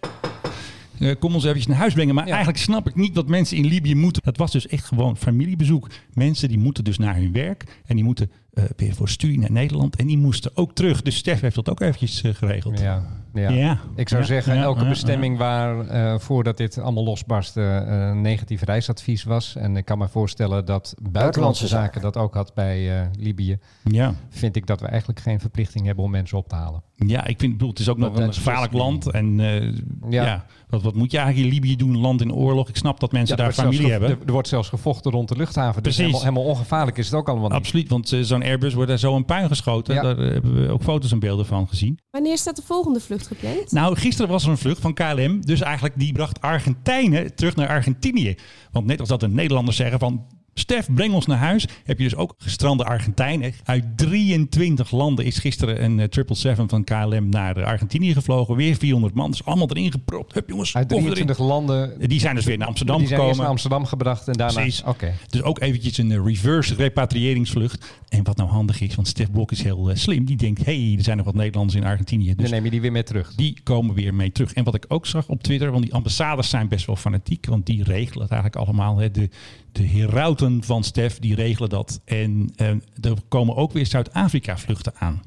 Speaker 1: eh, kom ons eventjes naar huis brengen. Maar eigenlijk snap ik niet dat mensen in Libië moeten. Dat was dus echt gewoon familiebezoek. Mensen die moeten dus naar hun werk en die moeten eh, weer voor studie naar Nederland. En die moesten ook terug. Dus Stef heeft dat ook eventjes eh, geregeld.
Speaker 2: Ja, ja.
Speaker 1: Ja.
Speaker 2: Ik zou
Speaker 1: Ja,
Speaker 2: zeggen,
Speaker 1: ja,
Speaker 2: elke
Speaker 1: ja,
Speaker 2: bestemming waar eh, voordat dit allemaal losbarstte eh, een negatief reisadvies was. En ik kan me voorstellen dat buitenlandse zaken dat ook had bij eh, Libië.
Speaker 1: ja.
Speaker 2: Vind ik dat we eigenlijk geen verplichting hebben om mensen op te halen.
Speaker 1: Ja, ik vind, bedoel, het is ook nog
Speaker 2: dat
Speaker 1: een
Speaker 2: is
Speaker 1: gevaarlijk
Speaker 2: dus-
Speaker 1: land. En eh, ja,
Speaker 2: Ja.
Speaker 1: wat, wat moet je eigenlijk in Libië doen? Een land in oorlog. Ik snap dat mensen
Speaker 2: Ja,
Speaker 1: daar
Speaker 2: er wordt zelfs
Speaker 1: familie
Speaker 2: ge-
Speaker 1: hebben.
Speaker 2: Er, er wordt zelfs gevochten rond de luchthaven. Dus
Speaker 1: Precies.
Speaker 2: helemaal, helemaal ongevaarlijk is het ook allemaal niet.
Speaker 1: Absoluut, want eh, zo'n Airbus wordt daar zo een puin geschoten.
Speaker 2: Ja.
Speaker 1: Daar eh, hebben we ook foto's en beelden van gezien.
Speaker 10: Wanneer staat de volgende vlucht gepland?
Speaker 1: Nou, gisteren was er een vlucht van KLM. Dus eigenlijk die bracht Argentijnen terug naar Argentinië. Want net als dat de Nederlanders zeggen van... Stef, breng ons naar huis. Heb je dus ook gestrande Argentijnen. Uit 23 landen is gisteren een eh, 777 van KLM naar eh, Argentinië gevlogen. Weer 400 man. Dus allemaal erin gepropt. Hup jongens,
Speaker 2: Uit
Speaker 1: koffer erin.
Speaker 2: 23 landen.
Speaker 1: Die zijn dus weer naar Amsterdam
Speaker 2: die zijn
Speaker 1: gekomen.
Speaker 2: eerst naar Amsterdam gebracht en daarna...
Speaker 1: Precies.
Speaker 2: Oké.
Speaker 1: Dus ook eventjes een eh, reverse repatriëringsvlucht. En wat nou handig is, want Stef Blok is heel eh, slim. Die denkt, hey, er zijn nog wat Nederlanders in Argentinië. Dus
Speaker 2: Dan neem je die weer mee terug.
Speaker 1: die komen weer mee terug. En wat ik ook zag op Twitter, want die ambassades zijn best wel fanatiek, want die regelen het eigenlijk allemaal. Hè. De, de herauten van Stef, die regelen dat. En eh, er komen ook weer Zuid-Afrika vluchten aan.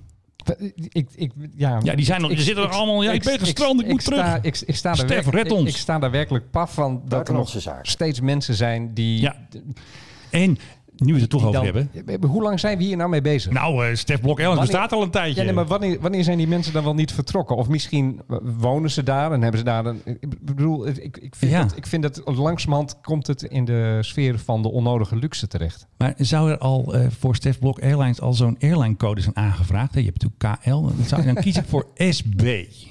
Speaker 2: Ik, ik, ja,
Speaker 1: Ja, die zijn nog- die zitten er allemaal, ja, ik ben gestrand, ik moet terug.
Speaker 2: Sta, ik, ik sta
Speaker 1: Stef,
Speaker 2: daar werk-
Speaker 1: red
Speaker 2: ik-
Speaker 1: ons.
Speaker 2: Ik, sta daar werkelijk paf van dat er nog steeds mensen zijn die...
Speaker 1: Ja. En nu we het er toch
Speaker 2: die
Speaker 1: over
Speaker 2: dan-
Speaker 1: hebben.
Speaker 2: Hoe lang zijn we hier nou mee bezig?
Speaker 1: Nou, eh Stef Blok Ellis
Speaker 2: Wanneer-
Speaker 1: bestaat al een tijdje.
Speaker 2: ja, nee, maar wanneer, wanneer zijn die mensen dan wel niet vertrokken? Of misschien wonen ze daar en hebben ze daar een... Ik bedoel, ik, ik, vind,
Speaker 1: Ja.
Speaker 2: dat, ik vind dat langzamerhand komt het in de sfeer van de onnodige luxe terecht.
Speaker 1: Maar zou er al eh, voor Stef Blok Airlines al zo'n airline-code zijn aangevraagd? Hè, Je hebt natuurlijk KL. Dan zou- Dan kies ik voor SB.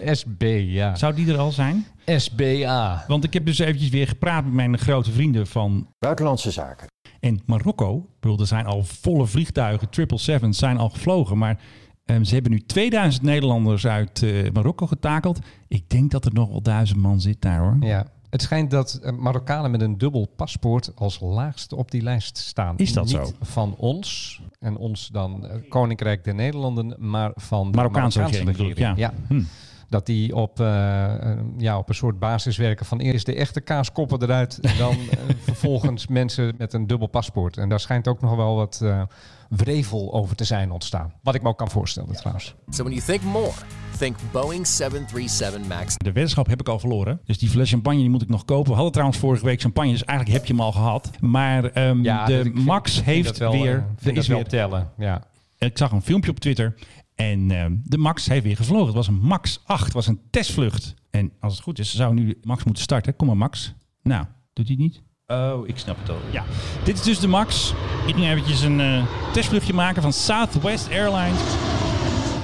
Speaker 2: SB, ja.
Speaker 1: Zou die er al zijn?
Speaker 2: SBA.
Speaker 1: Want ik heb dus eventjes weer gepraat met mijn grote vrienden van... Buitenlandse zaken. En Marokko. Ik bedoel, er zijn al volle vliegtuigen. 777 zijn al gevlogen. Maar eh, ze hebben nu 2000 Nederlanders uit eh, Marokko getakeld. Ik denk dat er nog wel duizend man zit daar, hoor.
Speaker 2: Ja. Het schijnt dat eh, Marokkanen met een dubbel paspoort als laagste op die lijst staan.
Speaker 1: Is dat
Speaker 2: Niet
Speaker 1: zo?
Speaker 2: Van ons, en ons dan eh, Koninkrijk der Nederlanden, maar van de
Speaker 1: Marokkaanse
Speaker 2: Marokkaanse,
Speaker 1: regering,
Speaker 2: regering.
Speaker 1: bedoel ik, ja. Hm.
Speaker 2: Dat die op, eh, eh, ja, op een soort basis werken van eerst de echte kaaskoppen eruit, en dan eh, vervolgens mensen met een dubbel paspoort. En daar schijnt ook nog wel wat eh, wrevel over te zijn ontstaan. Wat ik me ook kan voorstellen trouwens.
Speaker 11: So when you think more, think Boeing 737 MAX.
Speaker 1: De weddenschap heb ik al verloren. Dus die fles champagne die moet ik nog kopen. We hadden trouwens vorige week champagne, dus eigenlijk heb je hem al gehad. Maar ehm,
Speaker 2: Ja,
Speaker 1: de
Speaker 2: dus ik vind-
Speaker 1: Max
Speaker 2: ik vind
Speaker 1: heeft
Speaker 2: dat wel, eh,
Speaker 1: weer...
Speaker 2: vind
Speaker 1: Er
Speaker 2: dat
Speaker 1: is
Speaker 2: wel
Speaker 1: weer
Speaker 2: tellen. Ja.
Speaker 1: ik zag een filmpje op Twitter. En ehm, de Max heeft weer gevlogen. Het was een Max 8. Het was een testvlucht. En als het goed is, zou nu Max moeten starten. Kom maar, Max. Nou, doet hij het niet? Oh, ik snap het al. Ja. Dit is dus de Max. Ik ging eventjes een eh, testvluchtje maken van Southwest Airlines.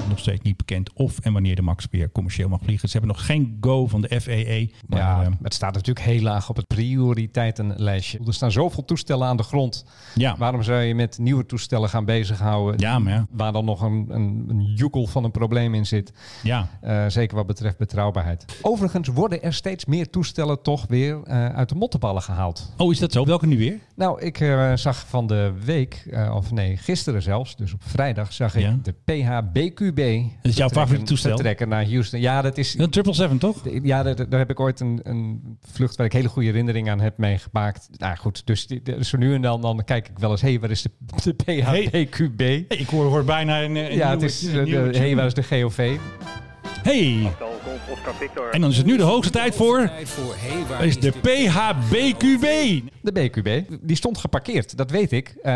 Speaker 1: Nog steeds niet bekend of en wanneer de Max weer commercieel mag vliegen. Ze hebben nog geen go van de FAA. Maar,
Speaker 2: ja,
Speaker 1: ehm,
Speaker 2: het staat natuurlijk heel laag op het prioriteitenlijstje. Er staan zoveel toestellen aan de grond.
Speaker 1: ja.
Speaker 2: Waarom zou je met nieuwe toestellen gaan bezighouden?
Speaker 1: ja, maar ja.
Speaker 2: Waar dan nog een, een, een joekel van een probleem in zit.
Speaker 1: ja.
Speaker 2: Eh, zeker wat betreft betrouwbaarheid. Overigens worden er steeds meer toestellen toch weer eh, uit de mottenballen gehaald.
Speaker 1: Oh, is dat zo? Welke nu weer?
Speaker 2: Nou, ik eh, zag van de week, eh, of nee, gisteren zelfs, dus op vrijdag, zag ik
Speaker 1: Ja.
Speaker 2: de PHBQB.
Speaker 1: Dat is jouw favoriete
Speaker 2: vertrekken-
Speaker 1: toestel?
Speaker 2: Vertrekken naar Houston. Ja, dat is
Speaker 1: Een 777, toch?
Speaker 2: ja, daar, daar heb ik ooit een, een vlucht waar ik hele goede herinneringen aan heb meegemaakt. Nou goed, dus die- de- zo nu en dan, dan kijk ik wel eens, hé, hey, waar is de, de PHPQB?
Speaker 1: Hey, ik hoor, hoor bijna een, eh, een
Speaker 2: ja, het
Speaker 1: nieuwe-
Speaker 2: is,
Speaker 1: een
Speaker 2: eh, de-
Speaker 1: nieuwe
Speaker 2: hé, hey,
Speaker 1: tune.
Speaker 2: waar is de GOV?
Speaker 1: Hey, En dan is het nu de hoogste tijd voor...
Speaker 3: waar
Speaker 1: is de PHBQB.
Speaker 2: De BQB, die stond geparkeerd, dat weet ik. Eh,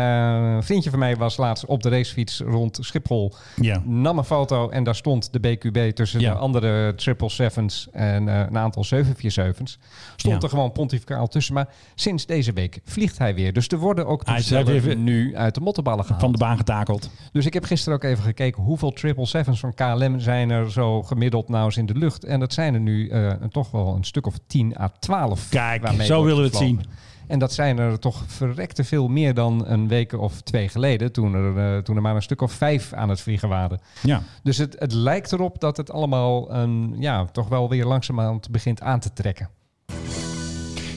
Speaker 2: een vriendje van mij was laatst op de racefiets rond Schiphol.
Speaker 1: Ja.
Speaker 2: Nam een foto en daar stond de BQB tussen
Speaker 1: Ja.
Speaker 2: de andere 777's en eh, een aantal 747's. Stond
Speaker 1: Ja.
Speaker 2: er gewoon pontificaal tussen. Maar sinds deze week vliegt hij weer. Dus er worden ook
Speaker 1: Hij is
Speaker 2: toestellen
Speaker 1: even-
Speaker 2: nu uit de mottenballen gehaald.
Speaker 1: Van de baan getakeld.
Speaker 2: Dus ik heb gisteren ook even gekeken hoeveel 777's van KLM zijn er zo gemiddeld nou eens in de lucht. En dat zijn er nu eh, toch wel een stuk of 10 à 12.
Speaker 1: Kijk, zo
Speaker 2: waarmee wordt
Speaker 1: willen we het
Speaker 2: gevlogen.
Speaker 1: zien.
Speaker 2: En dat zijn er toch verrekte veel meer dan een week of twee geleden, toen er, eh, toen er maar een stuk of vijf aan het vliegen waren.
Speaker 1: Ja.
Speaker 2: Dus het, het lijkt erop dat het allemaal een, ja, toch wel weer langzamerhand begint aan te trekken.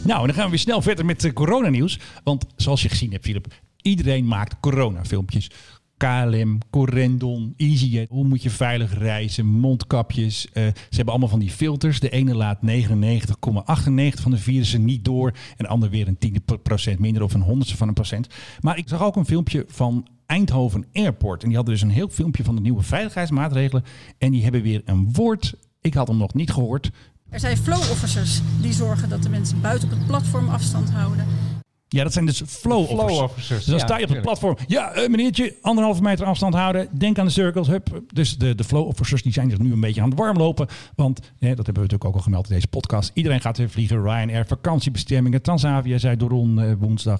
Speaker 1: Nou, en dan gaan we weer snel verder met eh, coronanieuws. Want zoals je gezien hebt, Philip, iedereen maakt coronafilmpjes. KLM, Corendon, EasyJet. Hoe moet je veilig reizen? Mondkapjes. eh, ze hebben allemaal van die filters. De ene laat 99,98 van de virussen niet door. En de ander weer een tiende pro- procent minder of een honderdste van een procent. Maar ik zag ook een filmpje van Eindhoven Airport. En die hadden dus een heel filmpje van de nieuwe veiligheidsmaatregelen. En die hebben weer een woord. Ik had hem nog niet gehoord.
Speaker 12: Er zijn flow officers die zorgen dat de mensen buiten op het platform afstand houden.
Speaker 1: Ja, dat zijn dus flow
Speaker 2: Flow
Speaker 1: offers.
Speaker 2: officers,
Speaker 1: Dus dan
Speaker 2: ja,
Speaker 1: sta je op het
Speaker 2: tuurlijk.
Speaker 1: platform. Ja, eh, meneertje, anderhalve meter afstand houden. Denk aan de cirkels. Hup. Dus de, de flow officers die zijn zich nu een beetje aan het warm lopen. Want hè, dat hebben we natuurlijk ook al gemeld in deze podcast. Iedereen gaat weer vliegen. Ryanair, vakantiebestemmingen. Transavia, zei Doron eh, woensdag.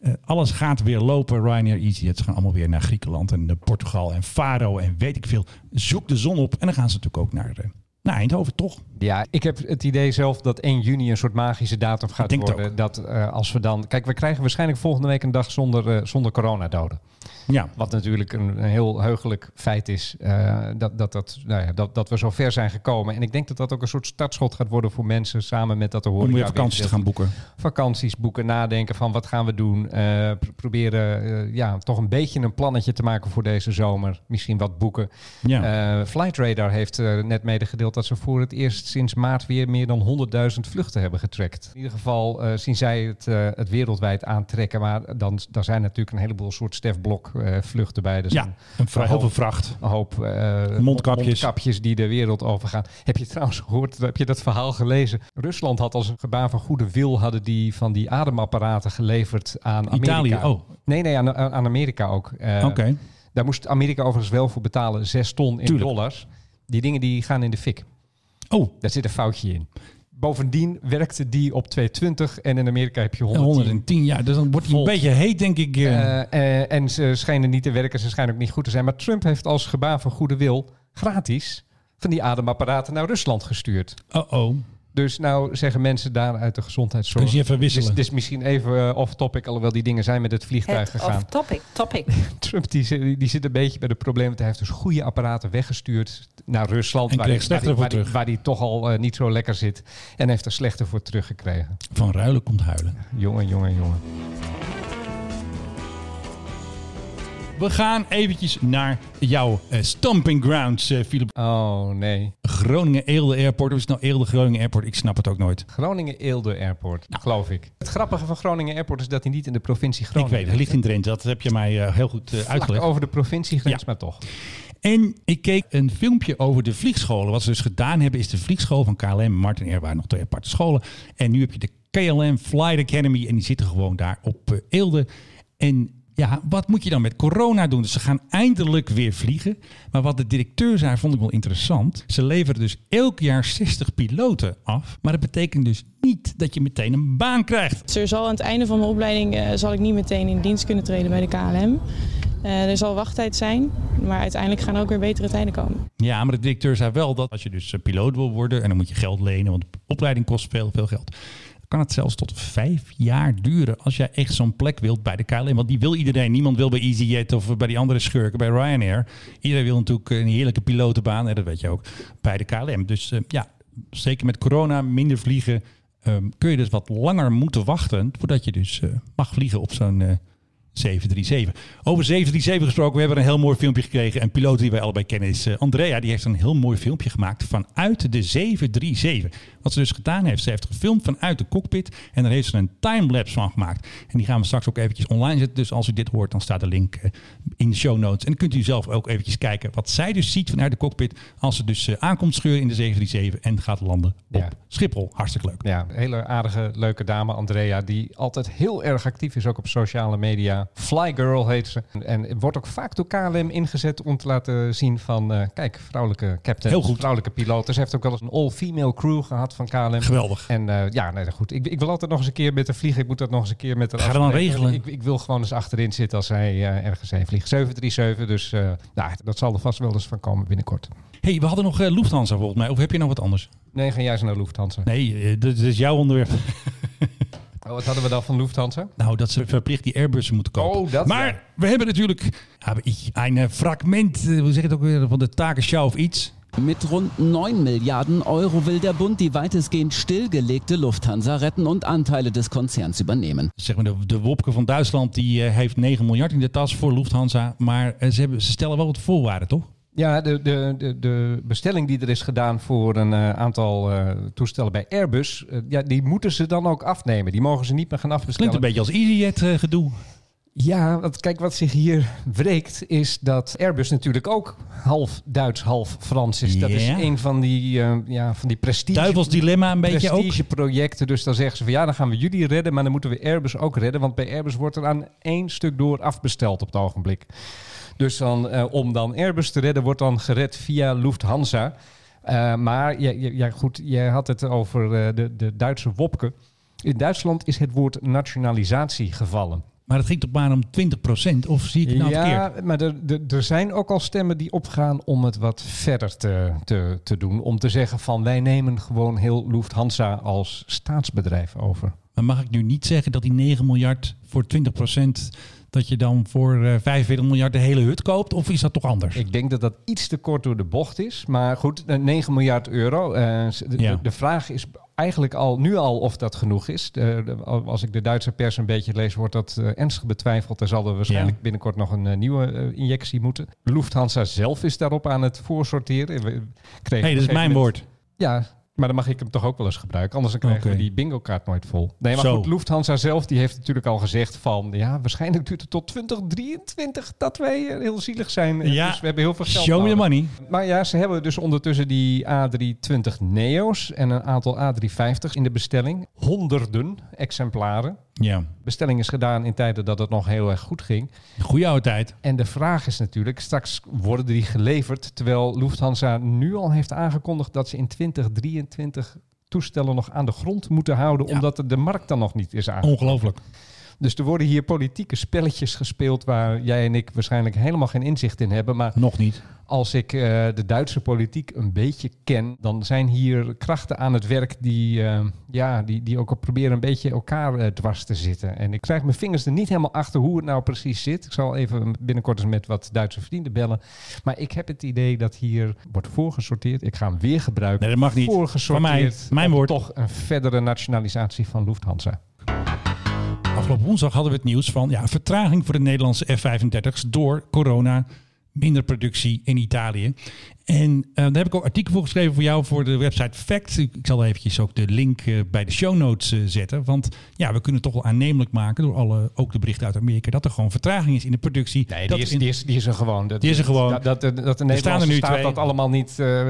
Speaker 1: Eh, alles gaat weer lopen. Ryanair, EasyJet. Ze gaan allemaal weer naar Griekenland en eh, Portugal en Faro en weet ik veel. Zoek de zon op. En dan gaan ze natuurlijk ook naar, eh, naar Eindhoven, toch?
Speaker 2: Ja, ik heb het idee zelf dat 1 juni een soort magische datum gaat
Speaker 1: denk het
Speaker 2: worden. Dat eh, als we dan. Kijk, we krijgen waarschijnlijk volgende week een dag zonder, eh zonder coronadoden.
Speaker 1: Ja.
Speaker 2: Wat natuurlijk een, een heel heugelijk feit is. eh, dat, dat, dat, nou ja, dat, dat we zo ver zijn gekomen. En ik denk dat dat ook een soort startschot gaat worden voor mensen samen met dat de horeca.
Speaker 1: Om weer vakanties te
Speaker 2: weer-
Speaker 1: gaan boeken.
Speaker 2: vakanties boeken, nadenken van wat gaan we doen. eh, pr- proberen eh, ja, toch een beetje een plannetje te maken voor deze zomer. Misschien wat boeken.
Speaker 1: Ja.
Speaker 2: Eh, Flight Radar heeft eh, net medegedeeld dat ze voor het eerst sinds maart weer meer dan 100.000 vluchten hebben getrackt. In ieder geval eh, zien zij het, eh, het wereldwijd aantrekken. Maar dan, dan zijn natuurlijk een heleboel soort Stefblok eh, vluchten bij. Dus
Speaker 1: Ja,
Speaker 2: een-
Speaker 1: een vra-
Speaker 2: een
Speaker 1: heel veel
Speaker 2: hoop-
Speaker 1: vracht.
Speaker 2: Een hoop eh,
Speaker 1: Mondkapjes.
Speaker 2: mondkapjes die de wereld overgaan. Heb je trouwens gehoord, heb je dat verhaal gelezen? Rusland had als een gebaar van goede wil hadden die van die ademapparaten geleverd aan Amerika.
Speaker 1: Italië, oh.
Speaker 2: Nee, nee, aan, aan Amerika ook. Eh,
Speaker 1: Oké.
Speaker 2: Daar moest Amerika overigens wel voor betalen, 6 ton in
Speaker 1: Tuurlijk.
Speaker 2: dollars. Die dingen die gaan in de fik.
Speaker 1: Oh.
Speaker 2: Daar zit een foutje in. Bovendien werkte die op 220 en in Amerika heb je 110.
Speaker 1: 110 jaar. Dus dan wordt hij een
Speaker 2: Volt.
Speaker 1: beetje heet, denk ik. eh.
Speaker 2: Eh, eh, en ze schijnen niet te werken, ze schijnen ook niet goed te zijn. Maar Trump heeft als gebaar van goede wil gratis van die ademapparaten naar Rusland gestuurd.
Speaker 1: Uh-oh.
Speaker 2: Dus nou zeggen mensen daar uit de gezondheidszorg.
Speaker 1: Kun Dus je even wisselen.
Speaker 2: Dit is misschien even eh, off-topic, alhoewel die dingen zijn met het vliegtuig
Speaker 7: Het
Speaker 2: gegaan.
Speaker 7: off-topic. Topic.
Speaker 2: Trump die, zit- die zit een beetje bij de problemen. want Hij heeft dus goede apparaten weggestuurd naar Rusland.
Speaker 1: En kreeg
Speaker 2: hij-
Speaker 1: slechtere
Speaker 2: waar
Speaker 1: voor
Speaker 2: hij-
Speaker 1: terug.
Speaker 2: Waar hij toch al eh, niet zo lekker zit. En heeft er slechter voor teruggekregen.
Speaker 1: Van ruilen komt huilen.
Speaker 2: Jongen, jongen, jongen.
Speaker 1: We gaan eventjes naar jouw eh, stomping grounds, eh, Philip.
Speaker 2: Oh nee.
Speaker 1: Groningen Eelde Airport. Of is het nou Eelde Groningen Airport? Ik snap het ook nooit.
Speaker 2: Groningen-Eelde Airport, geloof ik. Het grappige van Groningen Airport is dat hij niet in de provincie
Speaker 1: Nou. Ik
Speaker 2: Groningen
Speaker 1: weet, het ligt in Drenthe. Dat heb je mij eh, heel goed eh,
Speaker 2: Vlak
Speaker 1: uitgelegd.
Speaker 2: over de provinciegrens,
Speaker 1: Ja.
Speaker 2: maar toch.
Speaker 1: En ik keek een filmpje over de vliegscholen. Wat ze dus gedaan hebben is de vliegschool van KLM en Martin Air waren nog twee aparte scholen. En nu heb je de KLM Flight Academy en die zitten gewoon daar op eh, Eelde. En ja, wat moet je dan met corona doen? Dus ze gaan eindelijk weer vliegen. Maar wat de directeur zei, vond ik wel interessant. Ze leveren dus elk jaar 60 piloten af. Maar dat betekent dus niet dat je meteen een baan krijgt.
Speaker 13: Dus er zal aan het einde van mijn opleiding eh, zal ik niet meteen in dienst kunnen treden bij de KLM. Eh, er zal wachttijd zijn, maar uiteindelijk gaan er ook weer betere tijden komen.
Speaker 1: Ja, maar de directeur zei wel dat als je dus eh, piloot wil worden en dan moet je geld lenen, want de opleiding kost veel, veel geld. Kan het zelfs tot vijf jaar duren als jij echt zo'n plek wilt bij de KLM? Want die wil iedereen. Niemand wil bij EasyJet of bij die andere schurken, bij Ryanair. Iedereen wil natuurlijk eh, een heerlijke pilotenbaan, en dat weet je ook, bij de KLM. Dus eh, ja, zeker met corona, minder vliegen, ehm, eh, kun je dus wat langer moeten wachten voordat je dus eh, mag vliegen op zo'n eh, 737. Over 737 gesproken, we hebben een heel mooi filmpje gekregen. Een piloot die wij allebei kennen is eh, Andrea. Die heeft een heel mooi filmpje gemaakt vanuit de 737. Wat ze dus gedaan heeft, ze heeft gefilmd vanuit de cockpit. En daar heeft ze een timelapse van gemaakt. En die gaan we straks ook eventjes online zetten. Dus als u dit hoort, dan staat de link eh, in de show notes. En dan kunt u zelf ook eventjes kijken wat zij dus ziet vanuit de cockpit. Als ze dus eh, aankomt scheuren in de 737 en gaat landen op
Speaker 2: Ja.
Speaker 1: Schiphol. Hartstikke leuk.
Speaker 2: Ja, een hele aardige, leuke dame, Andrea, die altijd heel erg actief is, ook op sociale media. Fly Girl heet ze. En wordt ook vaak door KLM ingezet om te laten zien van, eh, kijk, vrouwelijke captain,
Speaker 1: Heel goed.
Speaker 2: vrouwelijke piloten. Ze heeft ook wel eens een all-female crew gehad van KLM.
Speaker 1: Geweldig.
Speaker 2: En eh, ja, nee, goed. Ik, ik wil altijd nog eens een keer met haar vliegen. Ik moet dat nog eens een keer met haar
Speaker 1: Ga dan
Speaker 2: afspreken.
Speaker 1: regelen.
Speaker 2: Ik, ik wil gewoon eens achterin zitten als hij eh, ergens heen vliegt. 737, dus eh, nou, dat zal er vast wel eens van komen binnenkort.
Speaker 1: hey, we hadden nog eh, Lufthansa volgens mij. Of heb je nog wat anders?
Speaker 2: Nee, ga jij eens naar Lufthansa.
Speaker 1: Nee, eh, dit dit is jouw onderwerp.
Speaker 2: Oh, wat hadden we dan van Lufthansa?
Speaker 1: Nou, dat ze verplicht die Airbussen moeten kopen.
Speaker 2: Oh, dat
Speaker 1: maar
Speaker 2: ja.
Speaker 1: we hebben natuurlijk ja, een eh, fragment, eh, hoe zeg je het ook weer, van de takenschouw of iets.
Speaker 14: Mit rund 9 Milliarden Euro will der Bund die weitestgehend stillgelegte Lufthansa retten und Anteile des Konzerns übernehmen.
Speaker 1: Zeg maar de, de Wopke van Duitsland die eh, heeft 9 miljard in de tas voor Lufthansa. Maar eh, ze, hebben, ze stellen wel wat voorwaarden, toch?
Speaker 2: Ja, de, de, de, de bestelling die er is gedaan voor een eh, aantal eh, toestellen bij Airbus, eh, ja, die moeten ze dan ook afnemen. Die mogen ze niet meer gaan afbestellen.
Speaker 1: Klinkt een beetje als EasyJet eh, gedoe.
Speaker 2: Ja, want kijk, wat zich hier wreekt is dat Airbus natuurlijk ook half Duits, half Frans is. Dat is
Speaker 1: Ja.
Speaker 2: een van die, eh, ja, van die prestige...
Speaker 1: Duivels dilemma een beetje ook.
Speaker 2: prestigeprojecten. Dus dan zeggen ze van ja, dan gaan we jullie redden, maar dan moeten we Airbus ook redden. Want bij Airbus wordt er aan één stuk door afbesteld op het ogenblik. Dus dan, eh, om dan Airbus te redden, wordt dan gered via Lufthansa. Eh, maar ja, ja, ja, goed, jij had het over eh, de, de Duitse Wopke. In Duitsland is het woord nationalisatie gevallen.
Speaker 1: Maar het ging toch maar om 20 Of zie ik het nou
Speaker 2: Ja,
Speaker 1: verkeerd?
Speaker 2: maar er, er, er zijn ook al stemmen die opgaan om het wat verder te, te, te doen. Om te zeggen van wij nemen gewoon heel Lufthansa als staatsbedrijf over.
Speaker 1: Maar mag ik nu niet zeggen dat die 9 miljard voor 20 dat je dan voor eh 45 miljard de hele hut koopt? Of is dat toch anders?
Speaker 2: Ik denk dat dat iets te kort door de bocht is. Maar goed, eh, 9 miljard euro. eh, s- de,
Speaker 1: Ja.
Speaker 2: de- de vraag is eigenlijk al nu al of dat genoeg is. De- de- als ik de Duitse pers een beetje lees, wordt dat eh, ernstig betwijfeld. Er zal er waarschijnlijk
Speaker 1: Ja.
Speaker 2: binnenkort nog een eh, nieuwe eh, injectie moeten. Lufthansa zelf is daarop aan het voorsorteren. We kregen op
Speaker 1: hey,
Speaker 2: een
Speaker 1: dat is
Speaker 2: gegeven
Speaker 1: mijn
Speaker 2: moment-
Speaker 1: woord.
Speaker 2: Ja, maar dan mag ik hem toch ook wel eens gebruiken. Anders dan krijgen
Speaker 1: Oké.
Speaker 2: we die bingo-kaart nooit vol. Nee, maar
Speaker 1: Zo.
Speaker 2: goed, Lufthansa zelf die heeft natuurlijk al gezegd van... ja, waarschijnlijk duurt het tot 2023 dat wij eh, heel zielig zijn. Eh,
Speaker 1: Ja,
Speaker 2: Dus we hebben heel veel geld
Speaker 1: Show me the
Speaker 2: nodig.
Speaker 1: money.
Speaker 2: Maar ja, ze hebben dus ondertussen die A320 Neo's... en een aantal A350's in de bestelling. Honderden exemplaren.
Speaker 1: Ja,
Speaker 2: Bestelling is gedaan in tijden dat het nog heel erg goed ging.
Speaker 1: goede oude tijd.
Speaker 2: En de vraag is natuurlijk, straks worden die geleverd, terwijl Lufthansa nu al heeft aangekondigd dat ze in 2023 toestellen nog aan de grond moeten houden, omdat de- de markt dan nog niet is
Speaker 1: Oh.
Speaker 2: aangekomen.
Speaker 1: Ongelooflijk.
Speaker 2: Dus er worden hier politieke spelletjes gespeeld waar jij en ik waarschijnlijk helemaal geen inzicht in hebben. Maar
Speaker 1: Nog niet.
Speaker 2: als ik eh, de Duitse politiek een beetje ken, dan zijn hier krachten aan het werk die, eh, ja, die, die ook al proberen een beetje elkaar eh, dwars te zitten. En ik krijg mijn vingers er niet helemaal achter hoe het nou precies zit. Ik zal even binnenkort eens met wat Duitse vrienden bellen. Maar ik heb het idee dat hier wordt voorgesorteerd. Ik ga hem weer gebruiken.
Speaker 1: Nee, dat mag niet. Van mij.
Speaker 2: Voorgesorteerd.
Speaker 1: Mijn
Speaker 2: op
Speaker 1: woord.
Speaker 2: Toch een verdere nationalisatie van Lufthansa.
Speaker 1: Afgelopen woensdag hadden we het nieuws van ja, vertraging voor de Nederlandse F-35's door corona. Minder productie in Italië. En eh, daar heb ik ook artikel voor geschreven voor jou voor de website Fact. Ik, ik zal eventjes ook de link eh, bij de show notes eh, zetten. Want ja, we kunnen het toch wel aannemelijk maken door alle, ook de berichten uit Amerika, dat er gewoon vertraging is in de productie.
Speaker 2: Nee,
Speaker 1: Dat
Speaker 2: die, is,
Speaker 1: in-
Speaker 2: die, is, die is er gewoon. Dat,
Speaker 1: Die is er gewoon.
Speaker 2: Dat, dat, dat
Speaker 1: er
Speaker 2: de Nederlandse
Speaker 1: nu
Speaker 2: staat
Speaker 1: twee.
Speaker 2: dat allemaal niet eh,